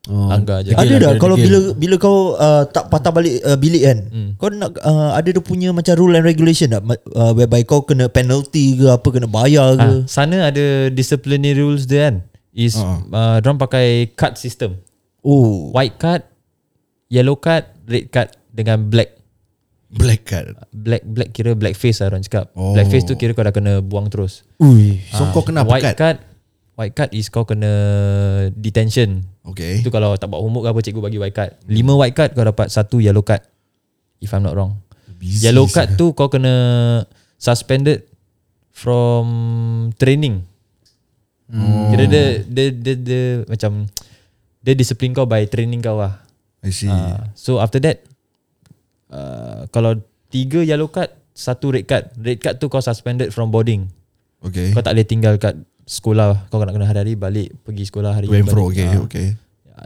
Speaker 3: Oh.
Speaker 5: langgar je.
Speaker 3: Ada
Speaker 1: Ada
Speaker 3: lah,
Speaker 1: dah
Speaker 3: ada
Speaker 1: kalau
Speaker 3: degil.
Speaker 1: bila bila kau uh, tak patah balik uh, bilik kan. Kau nak uh, ada dia punya macam rule and regulation tak Ma- uh, whereby kau kena penalty ke apa kena bayar ke.
Speaker 5: Ah, sana ada disciplinary rules dia kan. Is uh-huh. uh, dorang pakai card system.
Speaker 1: Oh.
Speaker 5: White card, yellow card, red card dengan black.
Speaker 2: Black card
Speaker 5: Black black kira black face lah orang cakap.
Speaker 2: Oh.
Speaker 5: Oh. Black face tu kira kau dah kena buang terus.
Speaker 1: Ui.
Speaker 2: So kau kena apa
Speaker 5: Ah, white
Speaker 2: card?
Speaker 5: card White card is kau kena detention.
Speaker 2: Okay
Speaker 5: Itu kalau tak buat homework ke apa cikgu bagi white card. Lima white card kau dapat satu yellow card. If I'm not wrong.
Speaker 2: Busy
Speaker 5: yellow card tu kau kena suspended from training. Hmm. Kira dia, dia, dia, dia macam dia disiplin kau by training kau lah.
Speaker 2: I see
Speaker 5: Ah, so after that uh, kalau tiga yellow card satu red card. Red card tu kau suspended from boarding.
Speaker 2: Okay
Speaker 5: Kau tak boleh tinggal kat sekolah Kau nak kena hari-hari balik Pergi sekolah hari
Speaker 2: To and fro
Speaker 5: balik.
Speaker 2: okay,
Speaker 5: Ah.
Speaker 2: okay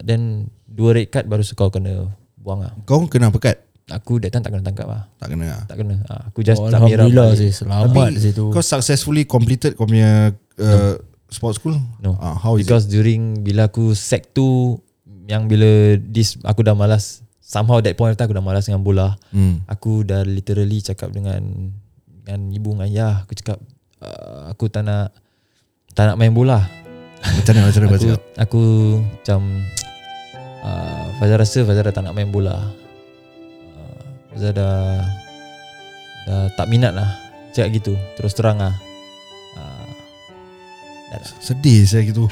Speaker 5: Then Dua red card baru kau kena Buang lah
Speaker 2: Kau kena apa card?
Speaker 5: Aku that time tak kena tangkap lah
Speaker 2: Tak kena lah
Speaker 5: Tak kena Ah, Aku just tak merah
Speaker 1: Alhamdulillah
Speaker 5: balik.
Speaker 1: sih selamat di situ.
Speaker 2: Kau successfully completed kau punya uh, Sport school?
Speaker 5: No
Speaker 2: Ah, How is it?
Speaker 5: Because during Bila aku sec 2 yang bila this aku dah malas somehow that point of time aku dah malas dengan bola.
Speaker 2: Hmm.
Speaker 5: Aku dah literally cakap dengan dengan ibu dengan ayah aku cakap uh, aku tak nak tak nak main bola.
Speaker 2: Macam mana macam mana
Speaker 5: Aku
Speaker 2: baca?
Speaker 5: aku macam uh, Faizal rasa Faizal dah tak nak main bola. Uh, Faizal dah dah tak minat lah. Cakap gitu terus terang lah. Uh,
Speaker 2: Sedih saya gitu.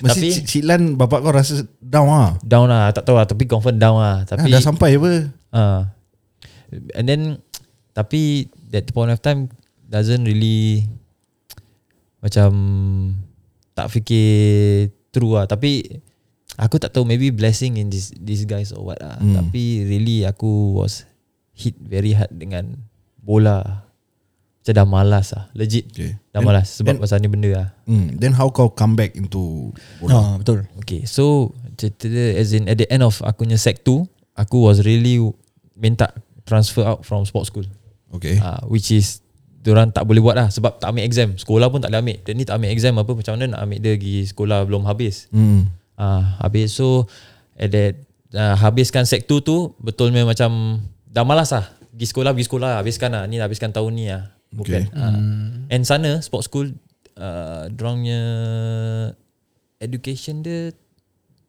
Speaker 2: Mesti
Speaker 5: Tapi-
Speaker 2: Tapi, Cik Lan bapak kau rasa down ah.
Speaker 5: down lah tak tahu lah tapi confirm down lah
Speaker 2: Tapi,
Speaker 5: tapi
Speaker 2: Ah, dah sampai apa?
Speaker 5: Uh, and then tapi that point of time doesn't really macam tak fikir true lah tapi aku tak tahu maybe blessing in this these guys or what lah
Speaker 2: Hmm.
Speaker 5: mm. tapi really aku was hit very hard dengan bola macam dah malas lah legit
Speaker 2: Okay.
Speaker 5: dah
Speaker 2: Then-
Speaker 5: malas sebab
Speaker 2: then-
Speaker 5: pasal ni benda lah
Speaker 2: Hmm. Then how kau come back into bola?
Speaker 1: Ha, betul.
Speaker 5: Okay so Cerita dia as in At the end of Aku punya sec 2 Aku was really Minta transfer out From sports school
Speaker 2: Okay.
Speaker 5: uh, Which is Diorang tak boleh buat lah Sebab tak ambil exam Sekolah pun tak boleh ambil Dia ni tak ambil exam apa Macam mana nak ambil dia Pergi sekolah belum habis
Speaker 2: Hmm.
Speaker 5: Ah, habis so at that ah, habiskan sek 2 tu betul memang macam dah malas lah. Pergi sekolah, pergi sekolah, habiskan lah. Ni dah habiskan tahun ni lah. Bukan.
Speaker 2: Okay. Hmm.
Speaker 5: Okay. Ah. And sana sport school uh, dorang punya education dia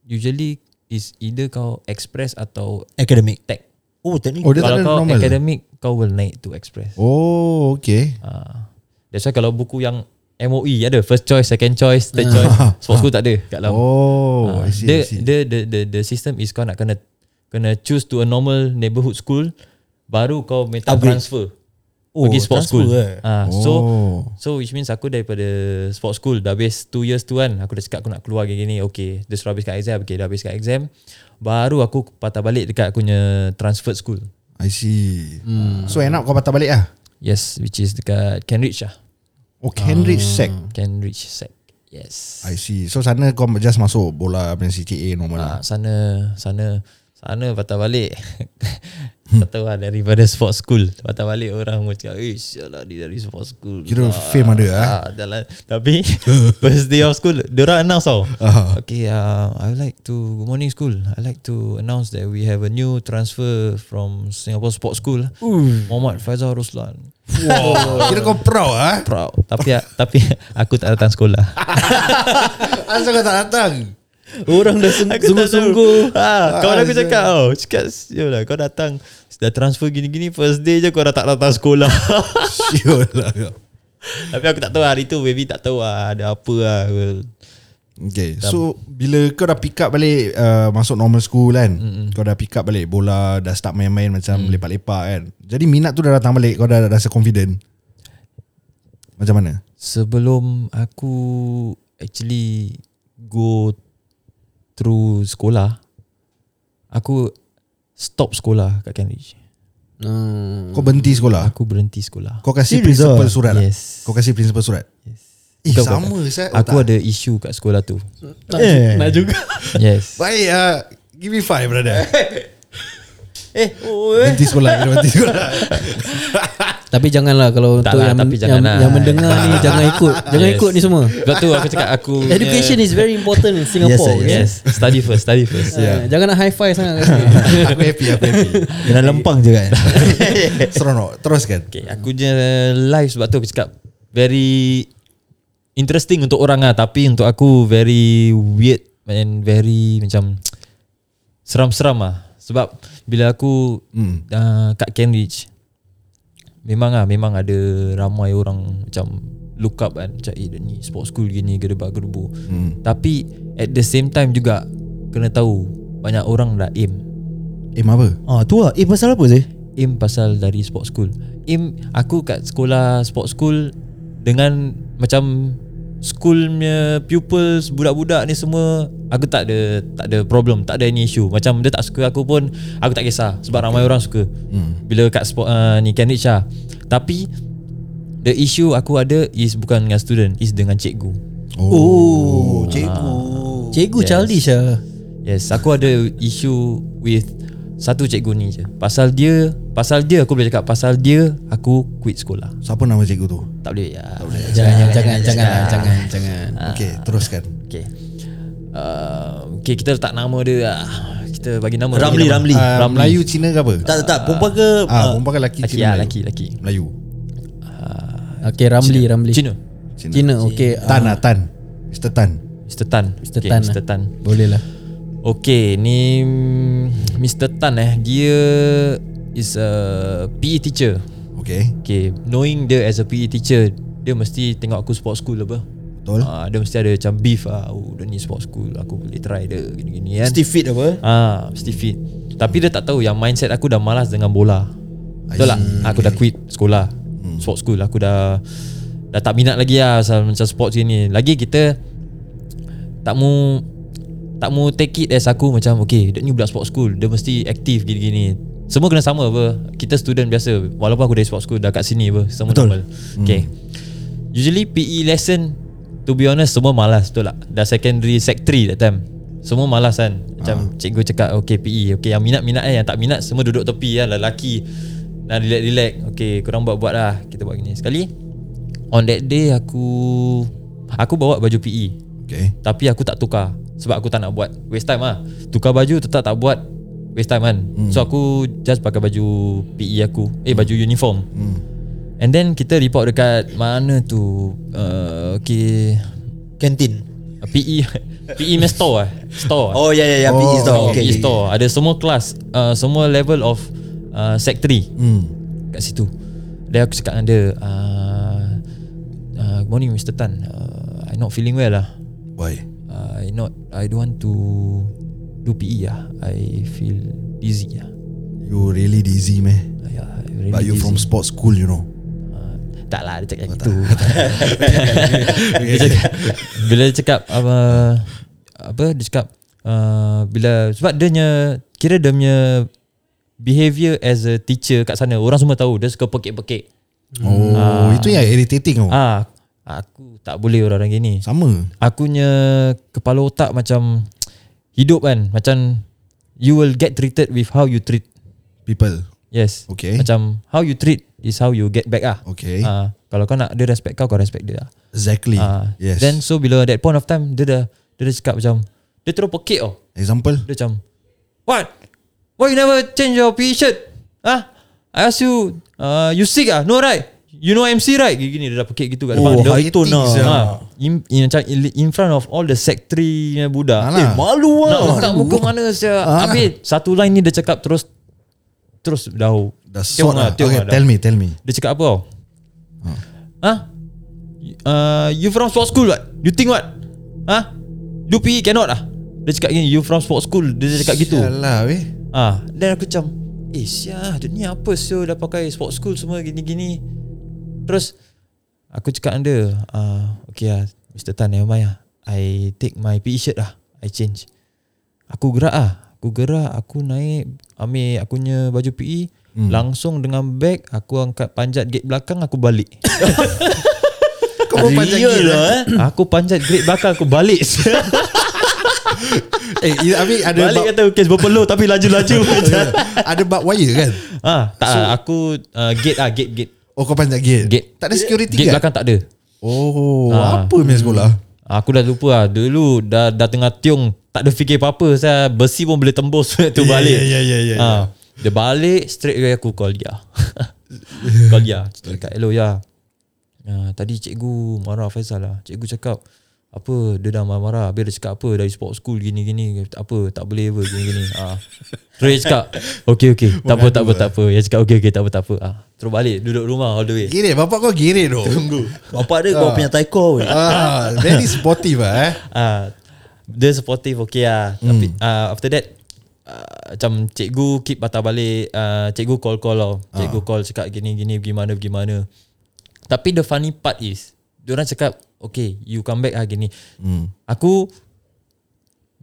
Speaker 5: usually is either kau express atau
Speaker 1: Academic.
Speaker 5: tech.
Speaker 1: Oh, teknik.
Speaker 2: Oh, dia
Speaker 5: kalau
Speaker 2: tak ada
Speaker 5: kau
Speaker 2: normal.
Speaker 5: academic kau will naik to express.
Speaker 2: Oh, okay.
Speaker 5: Ah. That's why kalau buku yang MOE ada first choice, second choice, third choice. Sport school tak ada kat dalam.
Speaker 2: Oh,
Speaker 5: Ah,
Speaker 2: I see.
Speaker 5: the,
Speaker 2: I see.
Speaker 5: the the the the system is kau nak kena kena choose to a normal neighborhood school baru kau minta
Speaker 1: Upgrade.
Speaker 5: transfer
Speaker 1: Oh,
Speaker 5: pergi sport
Speaker 1: transfer
Speaker 5: school.
Speaker 1: eh.
Speaker 5: Ah, so
Speaker 2: Oh.
Speaker 5: so which means aku daripada sport school dah habis 2 years tu kan aku dah cakap aku nak keluar gini gini okay dah suruh habiskan exam okay dah habiskan exam baru aku patah balik dekat aku punya transfer school
Speaker 2: I see. Hmm. So end up kau patah balik lah.
Speaker 5: yes which is dekat Cambridge lah
Speaker 2: Oh,
Speaker 5: Ah.
Speaker 2: Cambridge Sec.
Speaker 5: Cambridge Sec yes
Speaker 2: I see. So sana kau just masuk bola punya CTA normal lah.
Speaker 5: Ah, sana sana sana patah balik.
Speaker 2: Hmm.
Speaker 5: tak tahu lah daripada sport school. Patah balik orang macam, "Eh, sialah dia dari sport school."
Speaker 2: Kira fame ada lah.
Speaker 5: Ah, jalan. Tapi first day of school, diorang announce tau.
Speaker 2: Ah.
Speaker 5: Okay, uh, I would like to good morning school. I would like to announce that we have a new transfer from Singapore Sports School. Muhammad Faizal Ruslan.
Speaker 2: Wow. Kira kau proud ah.
Speaker 5: Proud. Tapi tapi aku tak datang sekolah.
Speaker 2: Asal kau tak datang?
Speaker 1: Orang dah sung-
Speaker 5: Aku tak tahu.
Speaker 1: sungguh-sungguh.
Speaker 5: Ha, kawan aku cakap oh, cakap "Sial lah kau datang dah transfer gini-gini first day je kau dah tak datang sekolah.
Speaker 2: Sure lah kau.
Speaker 5: Tapi aku tak tahu hari tu baby tak tahu lah, ada apa lah.
Speaker 2: Okay So Bila kau dah pick up balik uh, Masuk normal school kan Mm-mm. Kau dah pick up balik Bola Dah start main-main Macam lepak-lepak kan Jadi minat tu dah datang balik Kau dah rasa confident Macam mana
Speaker 5: Sebelum aku actually go through sekolah aku stop sekolah kat Cambridge.
Speaker 3: Hmm.
Speaker 2: Kau berhenti sekolah
Speaker 5: Aku berhenti sekolah.
Speaker 2: Kau kasih
Speaker 1: Serious ah?
Speaker 2: principal surat lah
Speaker 5: Yes.
Speaker 2: Kau kasih principal surat
Speaker 5: Yes.
Speaker 2: Eh
Speaker 5: Kau-
Speaker 2: sama saya
Speaker 5: Aku ada isu kat sekolah tu.
Speaker 3: Nak,
Speaker 1: Eh.
Speaker 3: nak juga.
Speaker 5: Yes.
Speaker 2: Baik uh, Give me five brother
Speaker 1: Eh, oh, eh.
Speaker 2: Berhenti sekolah Kena berhenti sekolah
Speaker 3: tapi janganlah kalau
Speaker 5: Tak
Speaker 3: untuk
Speaker 5: lah,
Speaker 3: yang,
Speaker 5: tapi
Speaker 3: yang,
Speaker 5: janganlah.
Speaker 3: yang mendengar ni jangan ikut. Jangan
Speaker 5: Yes.
Speaker 3: ikut ni semua.
Speaker 5: Sebab tu aku cakap aku punya-
Speaker 3: Education is very important in Singapore.
Speaker 1: Yes,
Speaker 5: Yes, study first, study first.
Speaker 3: Yeah.
Speaker 5: Yeah.
Speaker 3: Eh, jangan nak high five sangat. kat sini.
Speaker 2: Aku happy Aku happy
Speaker 1: Dalam lempang je kan.
Speaker 2: Seronok Teruskan
Speaker 5: Okay, aku je live sebab tu aku cakap very interesting untuk orang lah tapi untuk aku very weird and very macam seram-seram lah. Sebab bila aku
Speaker 2: Hmm.
Speaker 5: uh, kat Cambridge memang ah memang ada ramai orang macam look up kan macam eh dia ni sport school gini gedebak gedebu.
Speaker 2: Hmm.
Speaker 5: Tapi at the same time juga kena tahu banyak orang dah aim.
Speaker 2: Aim apa
Speaker 1: Ah, tu lah. Eh, pasal apa sih?
Speaker 5: Im pasal dari sport school Im aku kat sekolah sport school Dengan macam School punya pupils Budak-budak ni semua Aku tak ada Tak ada problem Tak ada any issue Macam dia tak suka aku pun Aku tak kisah Sebab okay. ramai orang suka hmm. Bila kat sport uh, Ni Cambridge lah Tapi The issue aku ada Is bukan dengan student Is dengan cikgu
Speaker 1: Oh, cikgu.
Speaker 3: Cikgu
Speaker 5: Yes.
Speaker 3: childish lah.
Speaker 5: Yes, aku ada issue with satu cikgu ni je. Pasal dia, pasal dia aku boleh cakap pasal dia aku quit sekolah.
Speaker 2: Siapa nama cikgu tu
Speaker 5: Tak boleh ya. Tak boleh.
Speaker 3: Jangan jangan jangan jangan jangan.
Speaker 2: Okay Kan? teruskan
Speaker 5: Okay. uh, Okay kita letak nama dia lah Kita bagi nama
Speaker 1: Ramli,
Speaker 5: bagi nama. Ah,
Speaker 1: Ramli.
Speaker 3: Ah,
Speaker 2: Uh, Melayu Cina ke apa?
Speaker 1: Tak tak, tak perempuan ke
Speaker 2: Ah,
Speaker 1: ah,
Speaker 2: perempuan ke lelaki
Speaker 5: Laki
Speaker 2: Cina?
Speaker 5: lah
Speaker 2: Melayu?
Speaker 5: laki laki
Speaker 2: Melayu.
Speaker 3: Okay Ramli Ramli
Speaker 5: Cina
Speaker 2: Cina.
Speaker 3: Cina okay
Speaker 2: Tan
Speaker 3: ah,
Speaker 2: lah Tan. Mr Tan.
Speaker 5: Mr. Tan
Speaker 3: Mr. Tan lah.
Speaker 5: Mr. Tan
Speaker 3: Boleh lah
Speaker 5: Okay ni mm, Mr. Tan eh Dia is a PE teacher
Speaker 2: Okay.
Speaker 5: Okay Knowing dia as a PE teacher Dia mesti tengok aku sport school apa
Speaker 2: Betul.
Speaker 5: Ah, Dia mesti ada macam beef ah, Oh dia ni sport school Aku boleh try dia Gini-gini kan
Speaker 1: Steve Fit apa?
Speaker 5: Ah, mesti fit Tapi dia tak tahu Yang mindset aku dah malas dengan bola Betul lah Aku dah quit sekolah Sport school Aku dah Dah tak minat lagi lah pasal Macam sport ni Lagi kita Tak mu Tak mu take it as aku Macam okay Dia ni budak sport school Dia mesti aktif gini-gini Semua kena sama apa Kita student biasa Walaupun aku dari sport school Dah kat sini apa Semua
Speaker 1: Betul.
Speaker 5: normal Okay Usually PE lesson To be honest Semua malas Betul tak Dah secondary Sec 3 that time Semua malas kan Macam cikgu cakap Okay PE Okay yang minat-minat eh Yang tak minat Semua duduk tepi kan Lelaki Nak relax-relax Okay korang buat-buat lah Kita buat gini Sekali On that day aku Aku bawa baju E. PE
Speaker 2: Okay.
Speaker 5: tapi aku tak tukar Sebab aku tak nak buat Waste time lah Tukar baju tetap tak buat Waste time kan hmm. So aku just pakai baju PE aku Eh baju uniform hmm. And then kita report dekat Mana tu uh, Okay
Speaker 1: Kantin.
Speaker 5: uh, PE PE punya store lah Store lah.
Speaker 1: Oh ya ya ya
Speaker 2: Oh,
Speaker 1: PE store.
Speaker 5: okay,
Speaker 1: Okay.
Speaker 5: PE store Ada semua kelas uh, Semua level of uh, Sectory
Speaker 2: Hmm.
Speaker 5: kat situ Then aku cakap dengan dia uh, uh, Good morning Mr. Tan uh, I not feeling well lah
Speaker 2: Why?
Speaker 5: I not I don't want to do PE lah. I feel dizzy lah.
Speaker 2: You really dizzy man.
Speaker 5: Yeah, I really
Speaker 2: But you
Speaker 5: dizzy.
Speaker 2: from Oh, sports school, you know.
Speaker 5: uh, tak lah dia cakap gitu. dia cakap, bila dia cakap apa apa dia cakap uh, bila sebab dia punya kira dia punya behavior as a teacher kat sana orang semua tahu dia suka pekik-pekik.
Speaker 2: Oh, itu yang irritating oh.
Speaker 5: Ah aku tak boleh orang-orang gini.
Speaker 2: Sama.
Speaker 5: Akunya kepala otak macam hidup kan macam you will get treated with how you treat.
Speaker 2: People.
Speaker 5: Yes.
Speaker 2: Okay.
Speaker 5: Macam how you treat is how you get back ah.
Speaker 2: Okay.
Speaker 5: Ah, kalau kau nak dia respect kau kau respect dia.
Speaker 2: Exactly.
Speaker 5: Ah.
Speaker 2: yes.
Speaker 5: Then so bila that point of time dia dah dia dah cakap macam dia terus pekik oh.
Speaker 2: Example.
Speaker 5: Dia macam What? Why you never change your PE shirt? Ah, I ask you uh, you sick ah? No right? You know MC right? Gini, dia dah pekik gitu kat
Speaker 1: Oh,
Speaker 5: depan dia.
Speaker 1: high tone lah.
Speaker 2: Yeah.
Speaker 5: Ha, in, in, macam in, in front of all the secretary punya budak.
Speaker 2: Alah.
Speaker 1: Malu
Speaker 5: Nak
Speaker 1: ah.
Speaker 5: letak muka mana saya Habis satu line ni dia cakap terus Terus dah
Speaker 2: Dah sort
Speaker 5: tiong
Speaker 2: lah.
Speaker 5: tiong
Speaker 2: Okay,
Speaker 5: dah.
Speaker 2: tell me, Ah. tell me.
Speaker 5: Dia cakap apa tau Ha? Uh, you from sport school what? You think what? Ha? You PE cannot ah? Dia cakap gini You from sport school Dia cakap gitu
Speaker 2: Alah, weh.
Speaker 5: Ah, Dan aku macam Eh siah Dia ni apa siah Dah pakai sport school semua gini-gini Terus Aku cakap dengan dia uh, Okay lah Mr. Tan never mind lah I take my PE shirt lah I change Aku gerak ah, Aku gerak Aku naik Ambil aku punya baju PE hmm. Langsung dengan bag Aku angkat panjat gate belakang Aku balik
Speaker 2: Kau pun panjang
Speaker 1: Real
Speaker 2: gila.
Speaker 1: lah eh.
Speaker 5: Aku panjat gate belakang Aku balik
Speaker 2: Eh, Abi ada
Speaker 5: Balik
Speaker 2: bab,
Speaker 5: kata Kes berpeluh Tapi laju-laju
Speaker 2: ada bab wire kan?
Speaker 5: ah, Tak so, aku uh, Gate ah Gate gate
Speaker 2: Oh, kau panjang gate.
Speaker 5: Gate.
Speaker 2: Tak ada security
Speaker 5: Gate
Speaker 2: gate.
Speaker 5: belakang tak ada
Speaker 2: Oh,
Speaker 5: Ah.
Speaker 2: apa punya sekolah?
Speaker 5: Aku dah lupa lah Dulu dah, dah tengah tiung Tak ada fikir apa-apa saya Besi pun boleh tembus Tu balik
Speaker 2: ya, ya, ya, ya,
Speaker 5: Ah, Dia balik Straight away aku call dia Call dia Cakap hello ya Ah, Tadi cikgu marah Faisal lah Cikgu cakap Apa Dia dah marah-marah Habis dia cakap apa Dari sport school gini-gini Apa Tak boleh apa Gini-gini ah. Terus dia cakap Okay okay Tak apa tak apa tak apa Dia cakap okay okay tak apa tak apa ah. Terus balik Duduk rumah all the way
Speaker 2: Girit, bapak kau girit tu. Tunggu.
Speaker 1: Bapak dia kau punya taiko weh.
Speaker 2: ah, very sportive lah eh.
Speaker 5: Ah, dia supportive okay lah. Hmm. Tapi ah, after that ah, macam cikgu keep patah balik, ah, cikgu call call lah. Cikgu call cakap gini gini gimana gimana. Tapi the funny part is, diorang cakap okay you come back ah gini. Hmm. Aku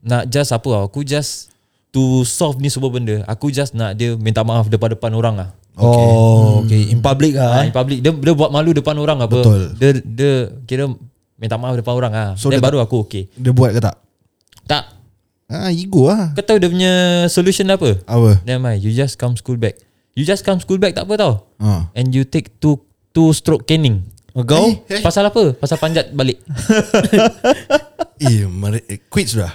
Speaker 5: nak just apa tau, aku just to solve ni semua benda. Aku just nak dia minta maaf depan-depan orang lah.
Speaker 1: Oh, okay. In public
Speaker 5: Ah,
Speaker 1: ah.
Speaker 5: in public dia dia buat malu depan orang apa.
Speaker 2: Betul.
Speaker 5: Dia dia kira minta maaf depan orang ah.
Speaker 2: So,
Speaker 5: So, Then
Speaker 2: dia
Speaker 5: baru aku okay.
Speaker 2: Dia buat ke tak?
Speaker 5: Tak
Speaker 2: Ah, ego lah.
Speaker 5: Kau tahu dia punya solution dia apa?
Speaker 1: Ah.
Speaker 2: Apa?
Speaker 5: Never mind, you just come school back. You just come school back tak apa tau.
Speaker 2: Ah.
Speaker 5: And you take two two stroke caning.
Speaker 1: Oh, Kau?
Speaker 2: Eh,
Speaker 5: Pasal apa? Pasal panjat balik.
Speaker 2: eh, mari- eh, quit sudah.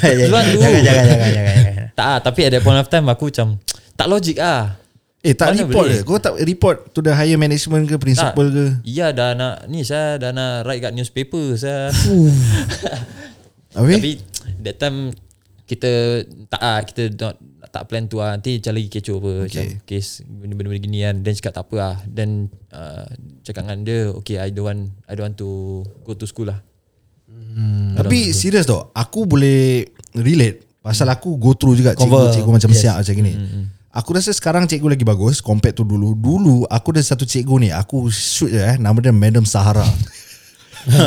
Speaker 5: Tuan dulu.
Speaker 1: Ya, jangan, jangan, jangan, jangan, jangan.
Speaker 5: tak ah, tapi at that point of time aku macam tak logik ah.
Speaker 2: Eh tak
Speaker 5: Mana
Speaker 2: report
Speaker 5: boleh?
Speaker 2: ke? Kau tak report to the higher management ke
Speaker 5: Tak.
Speaker 2: principal ke?
Speaker 5: Ya dah nak ni saya dah nak write kat newspaper saya.
Speaker 2: Habis?
Speaker 5: Tapi that time kita tak ah kita not, tak plan tu ah nanti macam lagi kecoh apa okay. macam kes benda-benda gini kan then cakap tak apa ah then uh, cakap dengan dia okay I don't want I don't want to go to school lah
Speaker 1: Hmm.
Speaker 2: Tapi serius tau Aku boleh relate Pasal aku go through juga
Speaker 1: Cover. Hmm,
Speaker 2: Cikgu-cikgu macam siap macam gini Aku rasa sekarang cikgu lagi bagus Compared to dulu Dulu aku ada satu cikgu ni Aku shoot je eh Nama dia Madam Sahara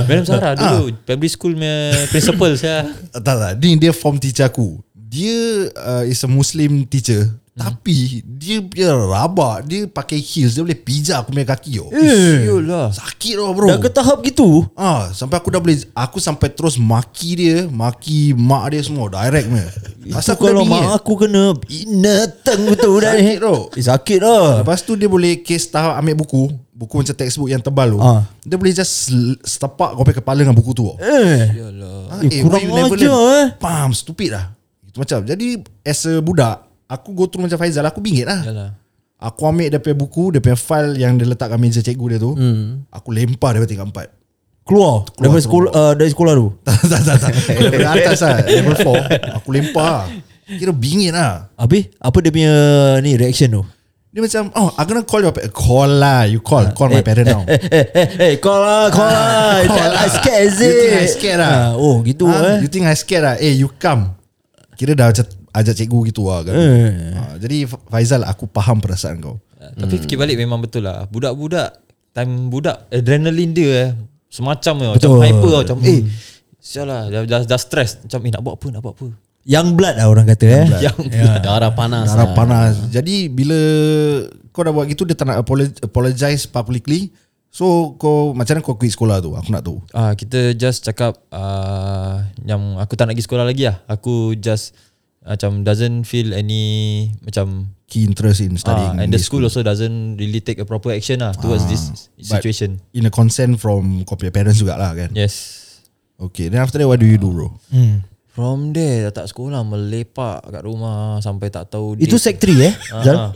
Speaker 5: Madam Sarah dulu primary school punya principal saya
Speaker 2: Tak tak Ni dia form teacher aku Dia uh, is a Muslim teacher
Speaker 1: Hmm.
Speaker 2: Tapi Dia dia rabak Dia pakai heels Dia boleh pijak aku punya kaki yo.
Speaker 5: Siul lah
Speaker 2: Sakit tau bro
Speaker 1: Eh. Dah ke tahap gitu
Speaker 2: Ah, sampai aku dah boleh aku sampai terus maki dia, maki mak dia semua direct punya. Pasal
Speaker 1: Masa
Speaker 2: aku dah
Speaker 1: kalau
Speaker 2: bingit.
Speaker 1: mak aku kena Binatang betul dah ni
Speaker 2: Sakit tau.
Speaker 1: Eh, Sakit lah
Speaker 2: Lepas tu dia boleh case tahap ambil buku, buku macam textbook yang tebal tu.
Speaker 1: Ah.
Speaker 2: Dia boleh just sl- setapak kau punya kepala dengan buku tu. Eh,
Speaker 1: Eh
Speaker 2: ah, why
Speaker 1: eh, kurang
Speaker 2: you never
Speaker 1: ajar,
Speaker 2: learn?
Speaker 1: eh.
Speaker 2: Pam, stupid lah. Itu macam. Jadi as a budak, aku go through macam Faizal, aku bingit lah.
Speaker 5: Yalah.
Speaker 2: Aku ambil dia punya buku, dia punya file yang dia letak kat meja cikgu dia tu.
Speaker 1: Hmm.
Speaker 2: Aku lempar dia tingkat empat.
Speaker 1: Keluar Daripada sekolah uh, Dari sekolah tu
Speaker 2: tak tak tak tak. Daripada atas lah Level 4 Aku lempar lah. Kira bingit lah
Speaker 1: Habis Apa dia punya Ni reaction tu
Speaker 2: Dia macam Oh I'm gonna call your parents Call lah You call Call my parents now
Speaker 1: Eh eh eh eh Call lah Call lah You
Speaker 2: Call
Speaker 1: think I
Speaker 2: lah.
Speaker 1: scared is it
Speaker 2: You think I scared lah
Speaker 1: Ah, Oh gitu
Speaker 2: Ah,
Speaker 1: eh
Speaker 2: You think I scared lah Eh you come Kira dah macam Ajak cikgu gitu lah kan.
Speaker 1: Eh.
Speaker 2: Ah, Jadi Fa- Faizal Aku faham perasaan kau
Speaker 5: Ah, Tapi fikir balik memang betul lah Budak-budak Time budak Adrenaline dia eh Semacam tau, Macam
Speaker 1: Betul.
Speaker 5: hyper tau Macam eh Sial lah dah, dah, dah stress Macam eh nak buat apa Nak buat apa
Speaker 1: Young blood lah orang kata eh
Speaker 5: Yang pula dah
Speaker 3: Darah
Speaker 1: Ah,
Speaker 3: panas
Speaker 2: Ya. Darah
Speaker 3: lah.
Speaker 2: panas Jadi bila Kau dah buat gitu Dia tak nak apolo- apologize publicly So kau Macam mana kau quit sekolah tu Aku nak tahu
Speaker 5: ah, Kita just cakap ah, Yang aku tak nak pergi sekolah lagi lah Aku just ah, Macam doesn't feel any Macam
Speaker 2: Key interest in
Speaker 5: ah,
Speaker 2: studying
Speaker 5: And the
Speaker 2: this. Ah,
Speaker 5: school also doesn't Really take a proper action lah Towards this situation
Speaker 2: But in a consent from Kau punya parents jugalah kan
Speaker 5: Yes
Speaker 2: Okay then after that What do you do bro
Speaker 5: From there dah tak sekolah Melepak kat rumah Sampai tak tahu
Speaker 1: Itu sec
Speaker 5: date-
Speaker 1: 3 eh Zal
Speaker 5: Ah, ah.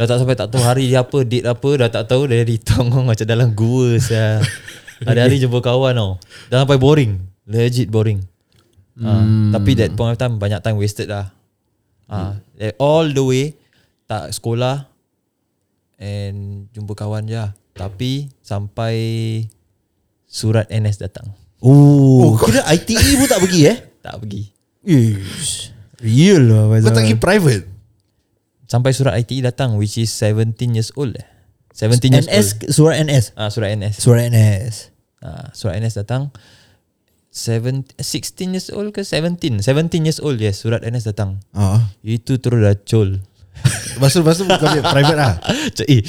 Speaker 5: Dah tak sampai tak tahu hari dia apa, date apa, dah tak tahu dah di tongong macam dalam gua saya. Hari-hari jumpa kawan tau. Dah sampai boring. Legit boring. Ah, tapi that point of time banyak time wasted lah. Ah, eh, all the way tak sekolah and jumpa kawan je. lah. Tapi sampai surat NS datang.
Speaker 1: Oh, Kira ITE pun tak pergi eh
Speaker 5: Tak pergi.
Speaker 1: Yes Real lah
Speaker 2: Kau
Speaker 1: Faizal
Speaker 2: tak pergi private
Speaker 5: Sampai surat ITE datang which is 17 years old. eh. 17 years
Speaker 1: NS
Speaker 5: old.
Speaker 1: Surat NS
Speaker 5: Ah, surat NS.
Speaker 1: Surat NS
Speaker 5: Ah, surat NS datang Seven, 16 years old ke 17 17 years old yes Surat NS datang
Speaker 2: Ah,
Speaker 5: Itu terus dah col
Speaker 2: Lepas tu Lepas tu kau ambil private lah
Speaker 5: Macam eh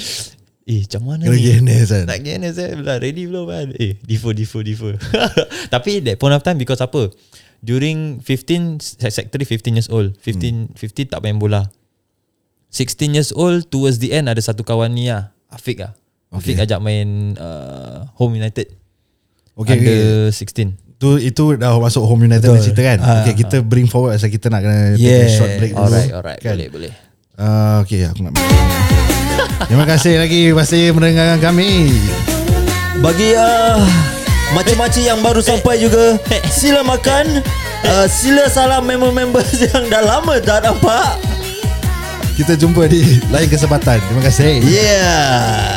Speaker 5: Eh macam mana
Speaker 2: Kena
Speaker 5: ni
Speaker 2: GNS kan
Speaker 5: Nak pergi NS eh Belah ready belum kan Eh defer defer defer Tapi that point of time Because apa During 15 se- Sector 15 years old
Speaker 2: Hmm.
Speaker 5: 15, 15 tak main bola 16 years old Towards the end Ada satu kawan ni lah Afiq lah Afiq
Speaker 2: Okay.
Speaker 5: ajak main uh, Home United
Speaker 2: Okay, okay.
Speaker 5: Under 16
Speaker 2: Tu itu dah masuk Home United Betul. cerita kan
Speaker 1: Ah,
Speaker 2: Okay kita bring forward Asal kita nak kena Take a
Speaker 1: Yeah.
Speaker 2: short break dulu
Speaker 5: Alright, alright.
Speaker 2: Kan?
Speaker 5: Boleh, boleh.
Speaker 2: Ah, Okay aku nak Terima kasih lagi Masih mendengarkan kami
Speaker 1: Bagi uh, Macam-macam yang baru
Speaker 5: Eh.
Speaker 1: sampai juga Sila makan uh, Sila salam member-member yang dah lama tak nampak
Speaker 2: Kita jumpa di lain kesempatan Terima kasih
Speaker 1: Yeah